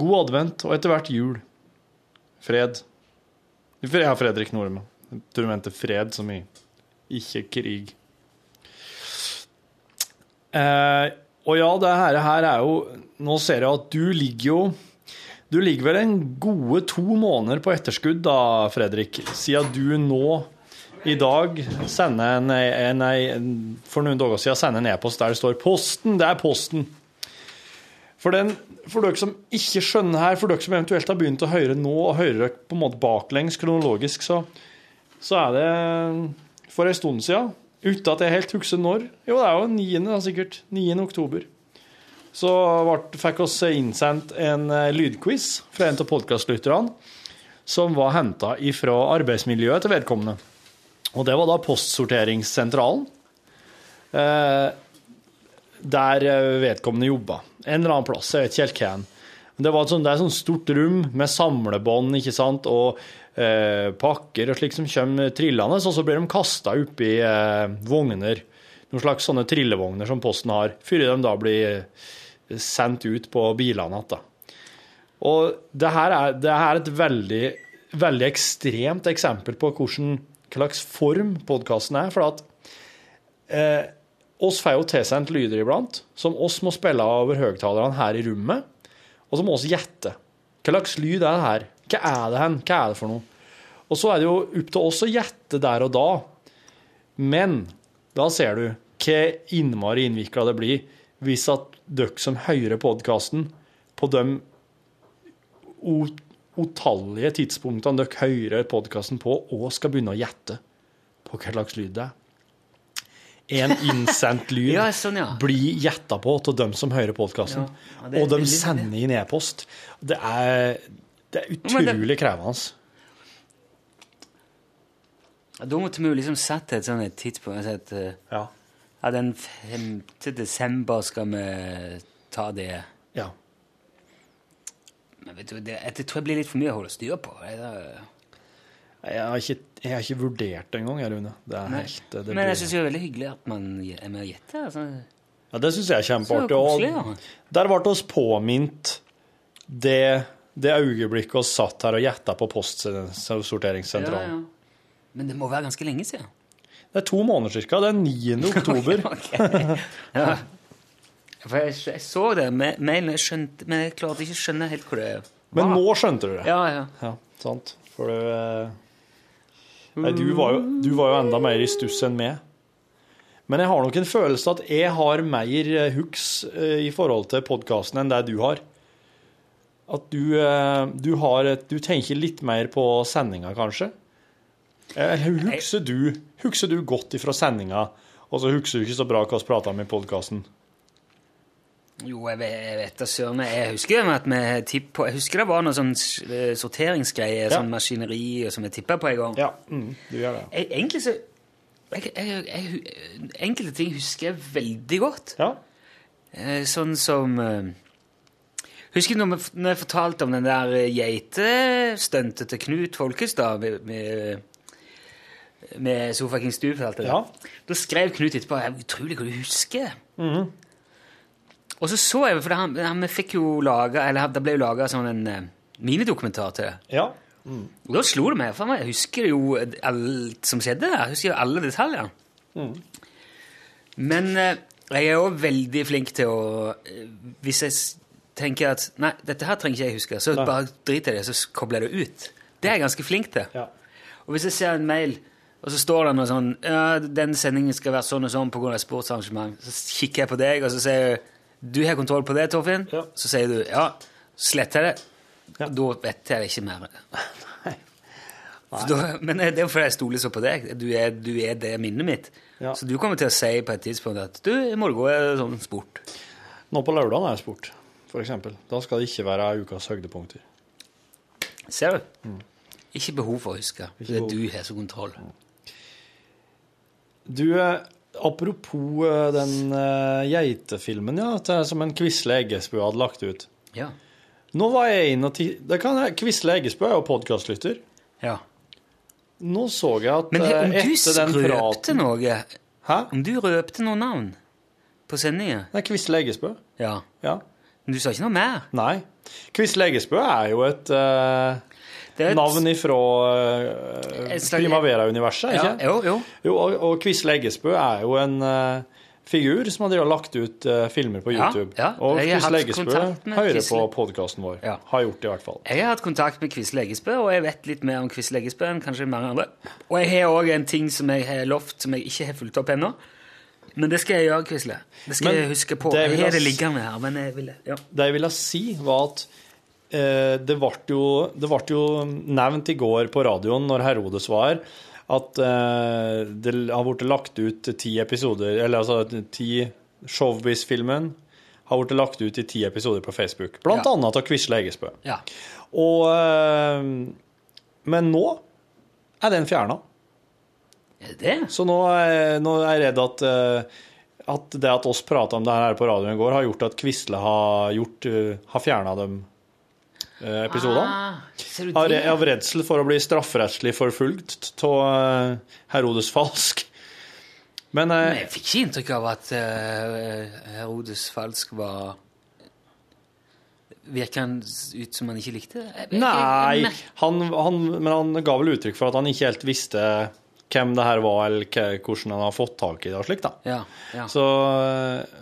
God advent, og etter hvert jul. Fred. Ja, Fredrik Nordmann. Jeg tror du mente fred som i ikke krig. Eh, og ja, det her, her er jo Nå ser jeg at du ligger jo Du ligger vel en gode to måneder på etterskudd da, Fredrik, siden du nå i dag sender en, en, en For noen dager siden sender en e-post der det står 'Posten'. Det er Posten. For, den, for dere som ikke skjønner her, for dere som eventuelt har begynt å høre nå, og hører dere på en måte baklengs kronologisk, så, så er det for en stund siden, uten at jeg helt husker når, jo det er jo 9. da, sikkert, 9. oktober, så vart, fikk oss innsendt en eh, lydquiz fra en av podcastlytterne, som var hentet ifra arbeidsmiljøet til vedkommende. Og det var da postsorteringssentralen. eh, der eh, vedkommende jobba. En eller annen plass, jeg vet ikke helt hvem. Men Det, var et sånt, det er et sånt stort rom med samlebånd ikke sant? og eh, pakker og slik som kommer trillende, og så blir de kasta oppi eh, vogner. Noen slags sånne trillevogner som Posten har, før de da blir eh, sendt ut på bilene igjen. da. Og det her er, det her er et veldig, veldig ekstremt eksempel på hvordan, hva slags form podkasten er. For at eh, oss får jo tilsendt lyder iblant, som oss må spille av over høyttalerne her i rommet. Og så må oss gjette. Hva slags lyd er det her? Hva er det hen? Hva er det for noe? Og så er det jo opp til oss å gjette der og da. Men da ser du hva innmari innvikla det blir hvis at dere som hører podkasten, på de o- utallige tidspunktene dere hører podkasten på, og skal begynne å gjette på hva slags lyd det er. En innsendt lyd [LAUGHS] Ja, sånn, ja. blir gjetta på av dem som hører podkasten. Ja, det er Sånn. og de litt- sender inn e-post. Det er, det er Men det- utrolig krevende. Ja, Da måtte vi jo liksom sette et sånt et tidspunkt altså et, eh, Ja. Den 5. desember skal vi ta det. Ja. Men vet du, det, det tror jeg blir litt for mye å holde styr på. Jeg, da- Jeg har ikke, jeg har ikke vurdert det engang, jeg, Rune. Det er Nei. helt, det Men blir- jeg syns det er veldig hyggelig at man er med og gjetter. Altså. Ja, det syns jeg er Så kjempeartig. koselig, ja. Og der ble oss påminnet det, det øyeblikket vi satt her og gjetta på Ja, postsorteringssentralen. ja. Men det må være ganske lenge siden. Det er to måneder ca. Det [LAUGHS] er 9. oktober. Ja. For jeg, jeg så det, med mailen, jeg skjønte, men jeg klarte ikke å skjønne helt hvor det var. Men nå skjønte du det. Ja, ja. Ja, sant. For du eh, Nei, du var, jo, du var jo enda mer i stuss enn meg. Men jeg har nok en følelse at jeg har mer eh, hooks eh, i forhold til podkasten enn det du har. At du, eh, du har et Du tenker litt mer på sendinga, kanskje? Eh, Eller hukser du, hukser du godt ifra sendinga, og så hukser du ikke så bra hva vi prata om i podkasten? Jo, jeg vet, jeg vet da søren. Jeg husker jo at vi tipp på Jeg husker det var noe sånn eh, sorteringsgreier, sånn maskineri som jeg tippa på en gang. Ja, mm, du gjør det. Jeg, egentlig så jeg, jeg, jeg, hu- Enkelte ting husker jeg veldig godt. Eh, Sånn som eh, Husker du når, vi f- når jeg fortalte om den der eh, geitestuntet til Knut Folkestad med, med, med Sofa King Stup? og alt det der? Da skrev Knut etterpå «Det er utrolig hva du husker. Og så så jeg, for det, han, han vi fikk jo laget, eller det ble jo laga sånn en eh, minidokumentar til det. Ja. Og da slo det meg, for jeg husker jo alt som skjedde der. Jeg husker jo alle detaljer. Men eh, jeg er òg veldig flink til å eh, Hvis jeg s- tenker at nei, dette her trenger ikke jeg huske, så bare driter jeg i det, så s- kobler jeg det ut. Det er jeg ganske flink til. Og hvis jeg ser en mail, og så står det noe sånn ja, 'Den sendingen skal være sånn og sånn pga. et sportsarrangement', så kikker jeg på deg, og så sier jeg 'Du har kontroll på det, Torfinn?' Så sier du 'Ja'. Sletter jeg det. Da vet jeg ikke mer. Så Da, men det er jo fordi jeg stoler så på deg. Du er, du er det minnet mitt. Ja. Så du kommer til å si på et tidspunkt at du, i morgen er det sånn sport. Nå på lørdag er det sport, f.eks. Da skal det ikke være ukas høydepunkter. Ser du? Ikke behov for å huske. Det er du har så kontroll. Du, eh, apropos eh, den eh, geitefilmen, ja, at det er som en Quisle Eggesbø hadde lagt ut. Ja. Nå var jeg inne og ti... Det kan jeg... Quisle Eggesbø er jo podkastlytter. Ja. Nå så jeg at Men det, om eh, du etter den røpte praten noe Hæ? Om du røpte noen navn på sendingen Nei, Quisle Eggesbø. Ja. Ja. Men du sa ikke noe mer? Nei. Quisle Eggesbø er jo et eh, Det er et- navn ifra eh, Et slags- Primavera-universet, ikke? Ja, jo, jo. Jo, og, og Quisle Eggesbø er jo en eh, figur som har drevet og lagt ut eh, filmer på Ja, YouTube. ja. Og Jeg har Quisle hatt Eggesbø kontakt med hører på Quisle. podkasten vår. Ja. Har gjort det, i hvert fall. Jeg har hatt kontakt med Quisle Eggesbø, og jeg vet litt mer om Quisle Eggesbø enn kanskje mange andre. Og jeg har òg en ting som jeg har lovt, som jeg ikke har fulgt opp ennå. Men det skal jeg gjøre, Quisle. Det skal Men jeg huske på. det Jeg vil har jeg det s- liggende her, men jeg ville ja. Det jeg ville si, var at eh, det ble jo, det vart jo nevnt i går på radioen når Herodes var her, at eh, det har blitt lagt ut ti episoder, eller altså ti Showbiz-filmen har blitt lagt ut i ti episoder på Facebook. Blant Ja. annet av Quisle Eggesbø. ja. Og eh, Men nå er den fjerna. Er det? Så nå, er- nå er jeg redd at eh, at det at oss prata om det her på radioen i går, har gjort at Quisle har, gjort, eh, har fjerna de eh, episodene? Ah, ser du Av, det? re- av redsel for å bli strafferettslig forfulgt av eh, Herodes Falsk. Men eh, Men jeg fikk ikke inntrykk av at eh, Herodes Falsk var Virka han s- ut som han ikke likte det? Jeg- jeg- jeg- Nei, jeg- han, han, men han ga vel uttrykk for at han ikke helt visste hvem det her var, eller hva- hvordan han har fått tak i det og slikt, da. Ja, ja. Så,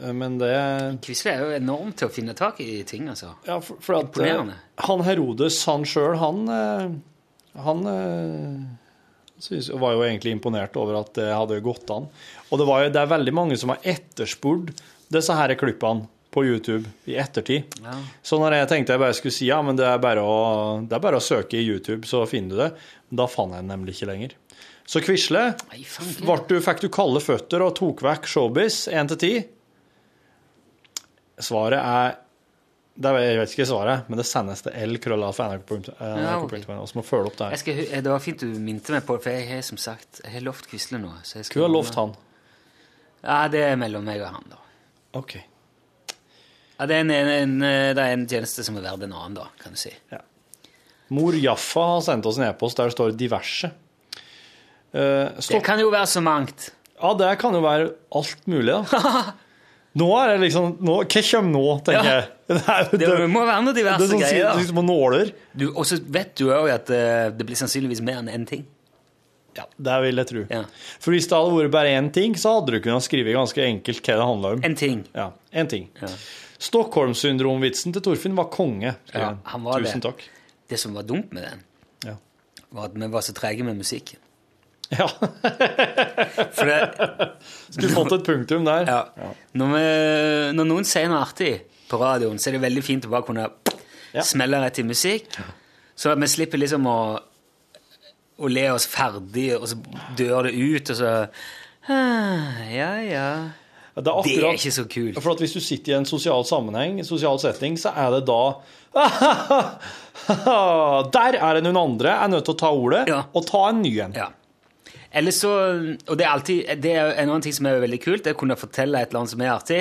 øh, men det Quisle er jo enorm til å finne tak i ting, altså. Ja, for, for at, Imponerende. øh, Han Herodes, han sjøl, han øh, Han øh, synes, var jo egentlig imponert over at det hadde gått an. Og det, var jo, det er veldig mange som har etterspurt disse her klippene på YouTube i ettertid. Ja. Så når jeg tenkte jeg bare skulle si ja, men det er bare å, det er bare å søke i YouTube, så finner du det. Da fant jeg den nemlig ikke lenger. Så Quisle, vart du- fikk du kalde føtter og tok vekk showbiz 1 til 10? Svaret er det er, Jeg vet ikke svaret, men det sendes til Ja, ok. l.nrk.no. Vi må følge opp det Jeg her. skal, hu- eh, det var fint du minte meg på det, for jeg har som sagt jeg har lovt Quisle nå. Så jeg skal Du har lovt han. Ja, det er mellom meg og han, da. Ok. Ja, det, er en, en, en, eh, det er en tjeneste som er verdt en annen, da, kan du si. Mor Jaffa har sendt oss en e-post der det står 'diverse'. Eh, Det kan jo være så mangt. Ja, det kan jo være alt mulig, da. Nå er det liksom nå, Hva kommer nå, tenker Ja. jeg. Det, er- Det må være noen diverse det er sånn, greier, da. Det er som nåler. Du, og så vet du òg at eh, det blir sannsynligvis mer enn én ting. Det vil jeg tro. For hvis det hadde vært bare én ting, så hadde du kunnet skrive ganske enkelt hva det handla om. En ting. Ja, en ting. Stockholm-syndrom-vitsen til Torfinn var konge. skriver Ja, han var Tusen det. takk. Det som var dumt med den, Ja. var at vi var så trege med musikken. Ja. [LAUGHS] For det, Skulle fått et punktum [LAUGHS] der. Ja. Når, vi, når noen sier noe artig på radioen, så er det veldig fint å bare kunne smelle rett i musikk, så at vi slipper liksom å, å le oss ferdig, og så dør det ut, og så ah, Ja, ja. Det er, Det er ikke så kult. For at hvis du sitter i en sosial sammenheng, sosial setting, så er det da [LAUGHS] Der er det noen andre er nødt til å ta ordet, og ta en ny en. Eller så, og det er alltid, det er en annen ting som er veldig kult, det er å kunne fortelle et eller annet som er artig,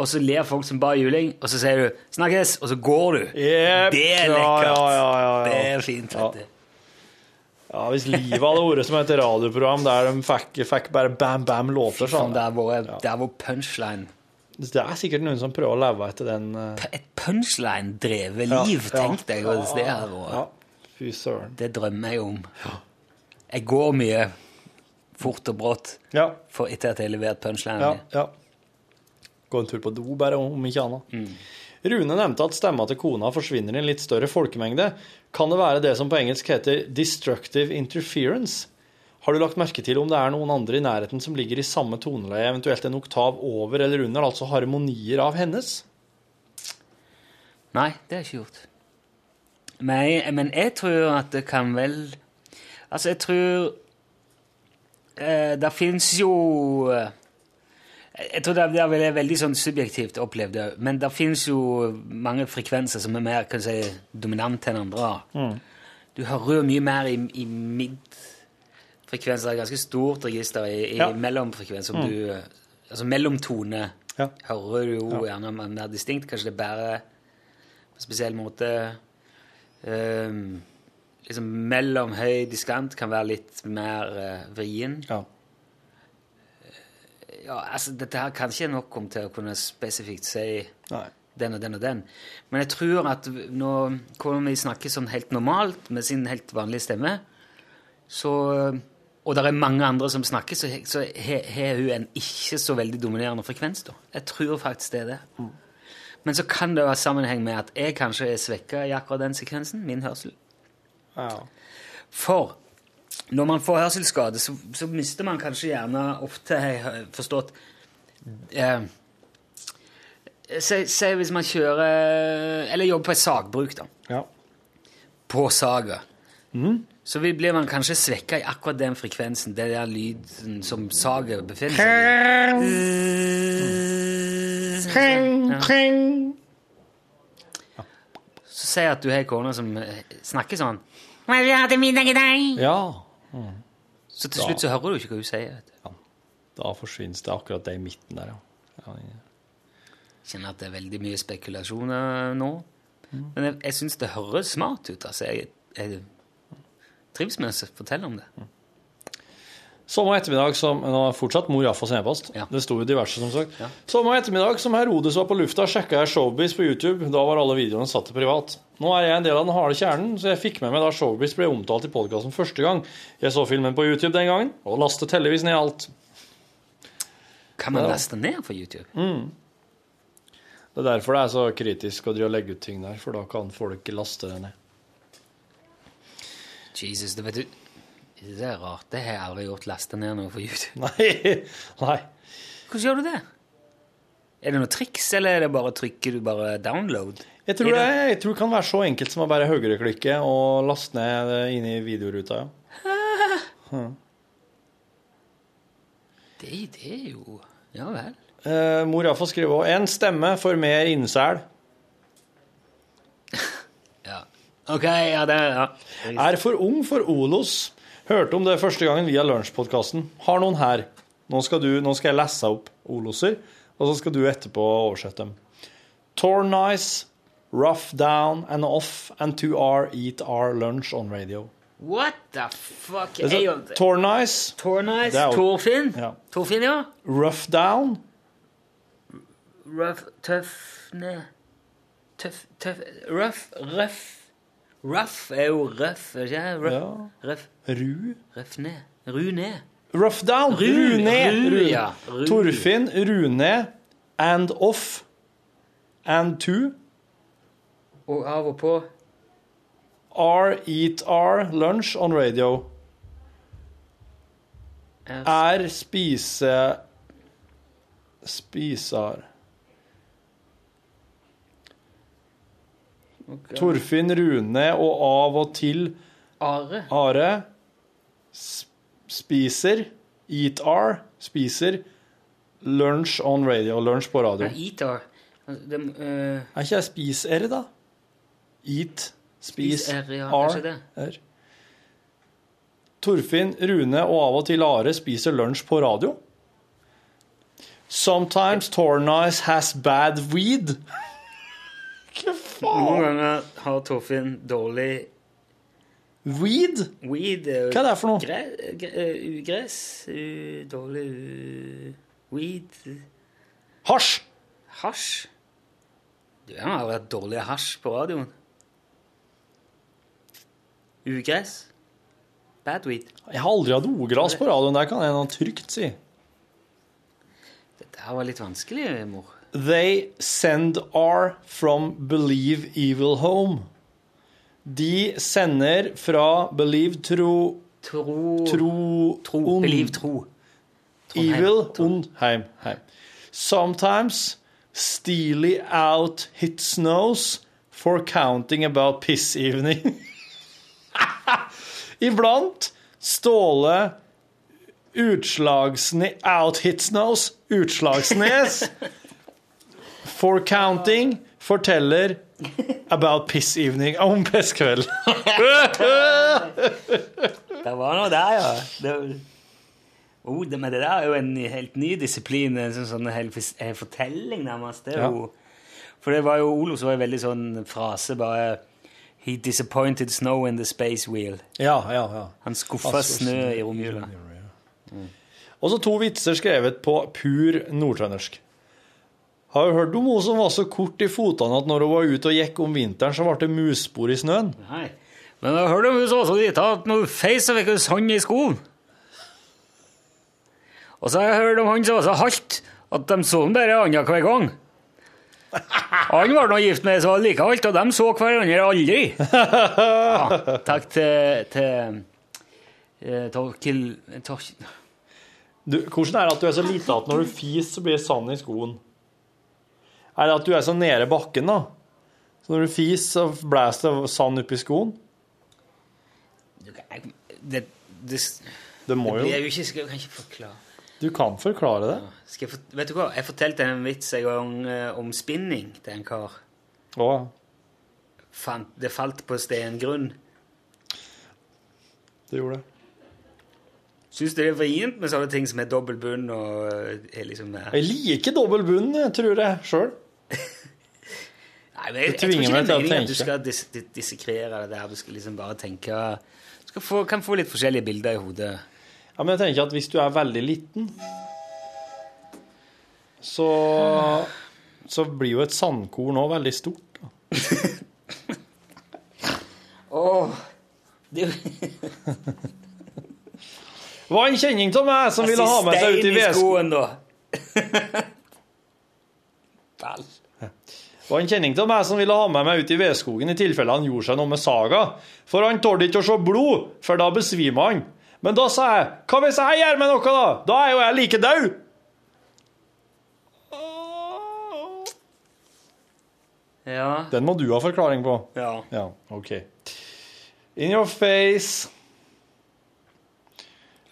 og så ler folk som bare juling, og så sier du 'snakkes', og så går du. Det er Ja, lekkert. ja, ja, ja, ja. Det er fint, vet du. Ja, Hvis livet hadde vært som et radioprogram der de fikk, fikk bare bam-bam-låter sånn. Det er vår, punchline. Det er sikkert noen som prøver å leve etter den eh, Et punchline-drevet liv, tenk deg hva det er. Og, Fy søren. Det drømmer jeg om. Jeg går mye fort og brått for etter at jeg har levert Ja, punchlinen. ja. Gå en tur på do, bare, om ikke annet. Rune nevnte at stemma til kona forsvinner i en litt større folkemengde. Kan det være det som på engelsk heter 'destructive interference'? Har du lagt merke til om det er noen andre i nærheten som ligger i samme toneleie, eventuelt en oktav over eller under, altså harmonier av hennes? Nei, det har jeg ikke gjort. Men jeg, men jeg tror at det kan vel Altså, jeg tror eh, Det fins jo eh, Jeg tror det, det er veldig sånn subjektivt opplevd, det, men det fins jo mange frekvenser som er mer kan du si, dominante enn andre. Mm. Du hører jo mye mer i, i midfrekvens. Det er et ganske stort register i, i Ja. mellomfrekvens. Som Mm. du, altså mellomtone hører du jo Ja. gjerne men mer distinkt. Kanskje det bærer på en spesiell måte ehm, liksom Mellom høy diskant kan være litt mer eh, vrien. Ja. altså, dette her kan ikke jeg nok om til å kunne spesifikt si Nei. den og den og den. Men jeg tror at nå, hvordan vi snakker sånn helt normalt med sin helt vanlige stemme, så og det er mange andre som snakker, så he- så he- har hun en ikke så veldig dominerende frekvens. da. Jeg tror faktisk det er det. Men så kan det være sammenheng med at jeg kanskje er svekka i akkurat den sekvensen, min hørsel. For når man får hørselsskade, så, så mister man kanskje gjerne ofte, har jeg hø- forstått eh, Si si hvis man kjører Eller jobber på et sagbruk, da. På saga. Så vil- blir man kanskje svekka i akkurat den frekvensen, den der lyden som saga befinner seg i. Ja. Så sier jeg at du har ei kone som eh, snakker sånn, Hva vil du ha til middag i dag? Ja. så til slutt så hører du ikke hva hun sier. vet du. Da forsvinner det akkurat det i midten der, ja. kan jeg Kjenner at det er veldig mye spekulasjoner nå. Men jeg, jeg syns det høres smart ut. altså. Jeg, jeg trives med å fortelle om det. Samme ettermiddag som Nå er fortsatt mor Jaffas e-post. Det sto jo diverse, som sagt. Samme ettermiddag som Herodes var på lufta, sjekka jeg Showbiz på YouTube. Da var alle videoene satt til privat. Nå er jeg en del av den harde kjernen, så jeg fikk med meg da Showbiz ble omtalt i podkasten første gang. Jeg så filmen på YouTube den gangen, og lastet heldigvis ned alt. Kan man laste ned på YouTube? Mm. Det er derfor det er så kritisk å drive og legge ut ting der, for da kan folk laste det ned. [LAUGHS] Jesus, det vet du Det er rart. Det har jeg aldri gjort. Lasta ned noe på YouTube. Nei. Nei. Hvordan gjør du det? Er det noe triks, eller er det bare trykker du bare 'download'? Jeg tror det, jeg tror det kan være så enkelt som å bare høyreklikke og laste ned det inn i videoruta, ja. Hm. Det, det er jo Ja vel. Eh, mor Jaffa skriver også, En stemme for mer innsel. Ok, ja, det ja. Er for ung for Olos. Hørte om det første gangen via lunsjpodkasten. Har noen her. Nå skal, du, nå skal jeg lese opp Oloser, og så skal du etterpå oversette dem. Torn nice, rough down and off and to our eat our lunch on radio. What the fuck? Det er Jeg, så- Torn nice. Tornice, Det er jo- Torfinn. Ja. Torfinn, ja. Rough down. Rough, tøff, ne... Tøff, tøff Rough, røff. Rough er jo røff, er det ikke det? Røff, røff, Ru. røff ned. Ru ned. Rough down. Ru, Rune. ru, Rune. ja, ru. Torfinn. Rune. And off. And to. Og av og på. R eat R lunch on radio. Er spise... Spisar. Ok. Torfinn Rune og av og til Are. Are sp- spiser Eat R spiser lunch on radio. Lunch på radio. Nei, Itar. Altså, det, eh, Er ikke jeg spis-r, da? Eat, spis, Spis R, ja, kanskje R. det. R. Torfinn, Rune og av og til Are spiser lunsj på radio. Sometimes Tornice has bad weed. [LAUGHS] Noen ganger har Torfinn dårlig Weed? Weed er jo Hva er det for noe? Gre gre eh, ugress. eh, dårlig eh, weed. Hasj! Hasj? Du han har aldri hatt dårlig hasj på radioen. Ugress. Bad weed. Jeg har aldri hatt ogras på radioen. Der kan jeg noe trygt si. Dette her var litt vanskelig, mor. They send R from Believe Evil Home. De sender fra Believe Tro Tro Tro, tro Believe Tro. Trondheim. Evil und heim, heim. Sometimes Steely out hits nose for counting about piss evening. [LAUGHS] Iblant Ståle Utslagsne out hits nose Utslagsnes for counting forteller about piss evening om pisskveld. Det var noe der, ja. Det, oh, det, men det der er jo en helt ny disiplin, en sånn, sånn hel, en fortelling nærmest. Det er Ja. jo, for det var jo Olo som var jo veldig sånn frase, bare He disappointed snow in the space wheel. Ja, ja, ja. Han skuffa Altså, snø snø i romjula. Og så to vitser skrevet på pur nordtrøndersk. Har du hørt om hun som var så kort i fotene at når hun var ute og gikk om vinteren, så ble det musspor i snøen? Nei. Men jeg hørte om hun så også dit at når hun feis, så fikk hun sand i skoen. Og så har jeg hørt om han som var så halt at de så han bare annenhver gang. Han var nå gift med ei som var like halt, og de så hverandre aldri. Ja, takk til, til eh, Torkil Tork, Du, hvordan er det at du er så lite at når du fis, så blir det sand i skoen? Er det at du er så nede bakken, da? Så når du fis, så blåser det sand opp i skoen? det, det, Det må blir jo jo ikke, jeg kan ikke forklare. Du kan forklare det. Skal jeg, fort- vet du hva, jeg fortalte en vits en gang eh, om spinning til en kar. Å, fant, det falt på stein grunn. det gjorde det. Syns du det er vrient med sånne ting som er dobbel bunn og eh, er liksom eh, Jeg liker dobbel bunn, jeg, tror jeg sjøl. Nei, men jeg, Det jeg tror tvinger ikke det meg er til å meningen at du tenke. skal dis dis dissekrere det der. Du skal liksom bare tenke Du skal få, kan få litt forskjellige bilder i hodet. Ja, men jeg tenker at hvis du er veldig liten, så, så blir jo et sandkorn òg veldig stort. Åh, det var en kjenning av meg som ville ha med seg ut i vedskogen. skoen, da. var en kjenning av meg som ville ha med meg ut i vedskogen i tilfelle han gjorde seg noe med saga. For han tålte ikke å se blod, for da besvimer han. Men da sa jeg, hva hvis jeg gjør med noe, da? Da er jo jeg like død. Ja. Den må du ha forklaring på. Ja. Ja, OK. In your face.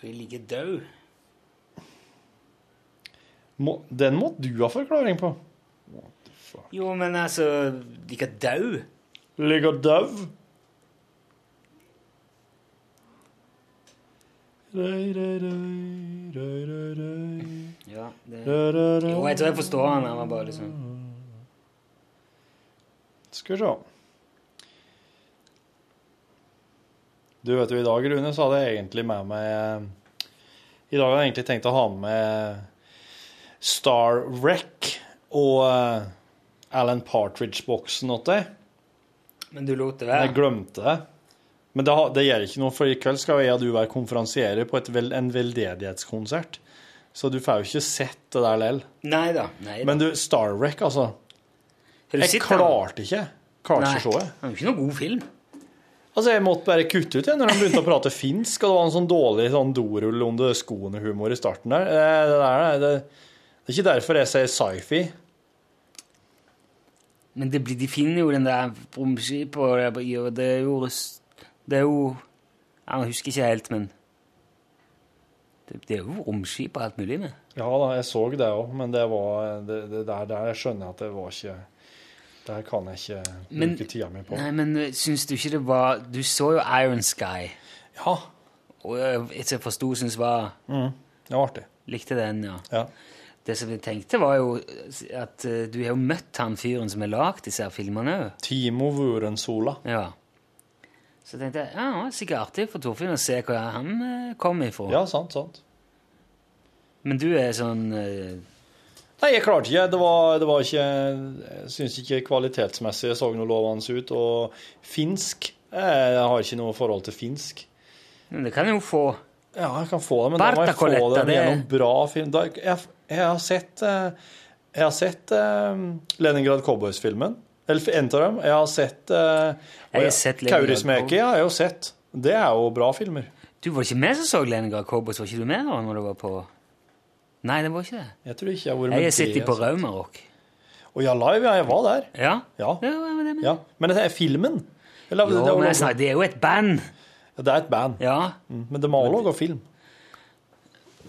Du er like død. Må, den må du ha forklaring på. Jo, men altså Like død? Ligger døv? Ja, det... Rø, rø, rø. Jo, jeg tror jeg forstår han. Han var bare liksom Skal vi se. Du vet jo, i dag, Rune, så hadde jeg egentlig med meg eh, I dag hadde jeg egentlig tenkt å ha med Star Wreck og eh, Alan Partridge-boksen åt deg. Men du lot det Men jeg være? glemte det. Men det, har- det gjør ikke noe, for i kveld skal jeg og du være konferansierer på et vel, en veldedighetskonsert. Så du får jo ikke sett det der lell. Nei da. Nei, da. Men du, Star Wreck, altså. Har du Jeg sett den? klarte ikke. Klarte ikke å se det. Det er jo ikke noen god film. Altså, Jeg måtte bare kutte ut igjen når de begynte å prate finsk, og det var en sånn dårlig sånn dorull under skoene-humor i starten der. Eh, Det, der det, det er ikke derfor jeg sier sci-fi. Men det blir, de finner jo den der romskipet, og det blir- og det er jo russ- Det er jo Jeg husker ikke helt, men det, det er jo romskip og alt mulig med. Ja da, jeg så det òg, men det var det, det der, der jeg skjønner at det var ikke Der kan jeg ikke bruke Men- tida mi på. Nei, men syns du ikke det var Du så jo Iron Sky. Ja. Og jeg- etter jeg forsto, syns var Mm, det var artig. Likte den, ja. Ja. Det som jeg tenkte, var jo at eh, du har jo møtt han fyren som har lagd disse her filmene òg. Timo Vurensola. Ja. Så tenkte jeg ja, det er sikkert artig for Torfinn å se hvor han eh, kom ifra. Ja, sant, sant. Men du er sånn eh, Nei, jeg klarte ikke. Det var, det var ikke Jeg syns ikke kvalitetsmessig jeg så noe lovende ut. Og finsk eh, Jeg har ikke noe forhold til finsk. Men det kan jeg jo få. Ja, jeg kan få det, men da må jeg få Bartakoletta, det det er- gjennom bra film. Da, jeg, jeg har sett, eh, jeg har sett eh, Leningrad Cowboys-filmen. Eller en av dem. Jeg har sett, eh, Jeg har og sett Leningrad Kaurismäki har jeg jo sett. Det er jo bra filmer. Du var ikke med som så Leningrad Cowboys, var ikke du med da når det var på Nei, det var altså. ikke det. Jeg tror ikke jeg har vært Jeg med har sett dem på Raumarock. Å ja, live. Ja, jeg var der. Ja? Ja. men det ja. Men det er filmen. Eller, Jo, det er jo men laget- jeg snakker, det er jo et band. Ja, Det er et band. Ja. Mm, Men det må også lage film.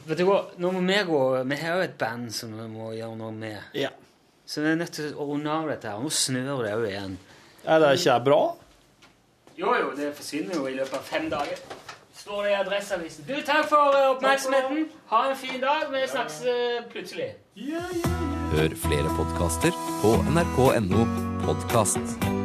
Vet du hva, nå må vi gå Vi har jo et band som vi må gjøre noe med. Ja. Så vi er nødt til å runde av dette her. Nå snør det jo igjen. Er det ikke bra? Jo, jo, det forsvinner jo i løpet av fem dager. Står det i Adresseavisen. Du, takk for eh, oppmerksomheten. Ha en fin dag. Vi snakkes eh, plutselig. Hør flere podkaster på nrk.no podkast.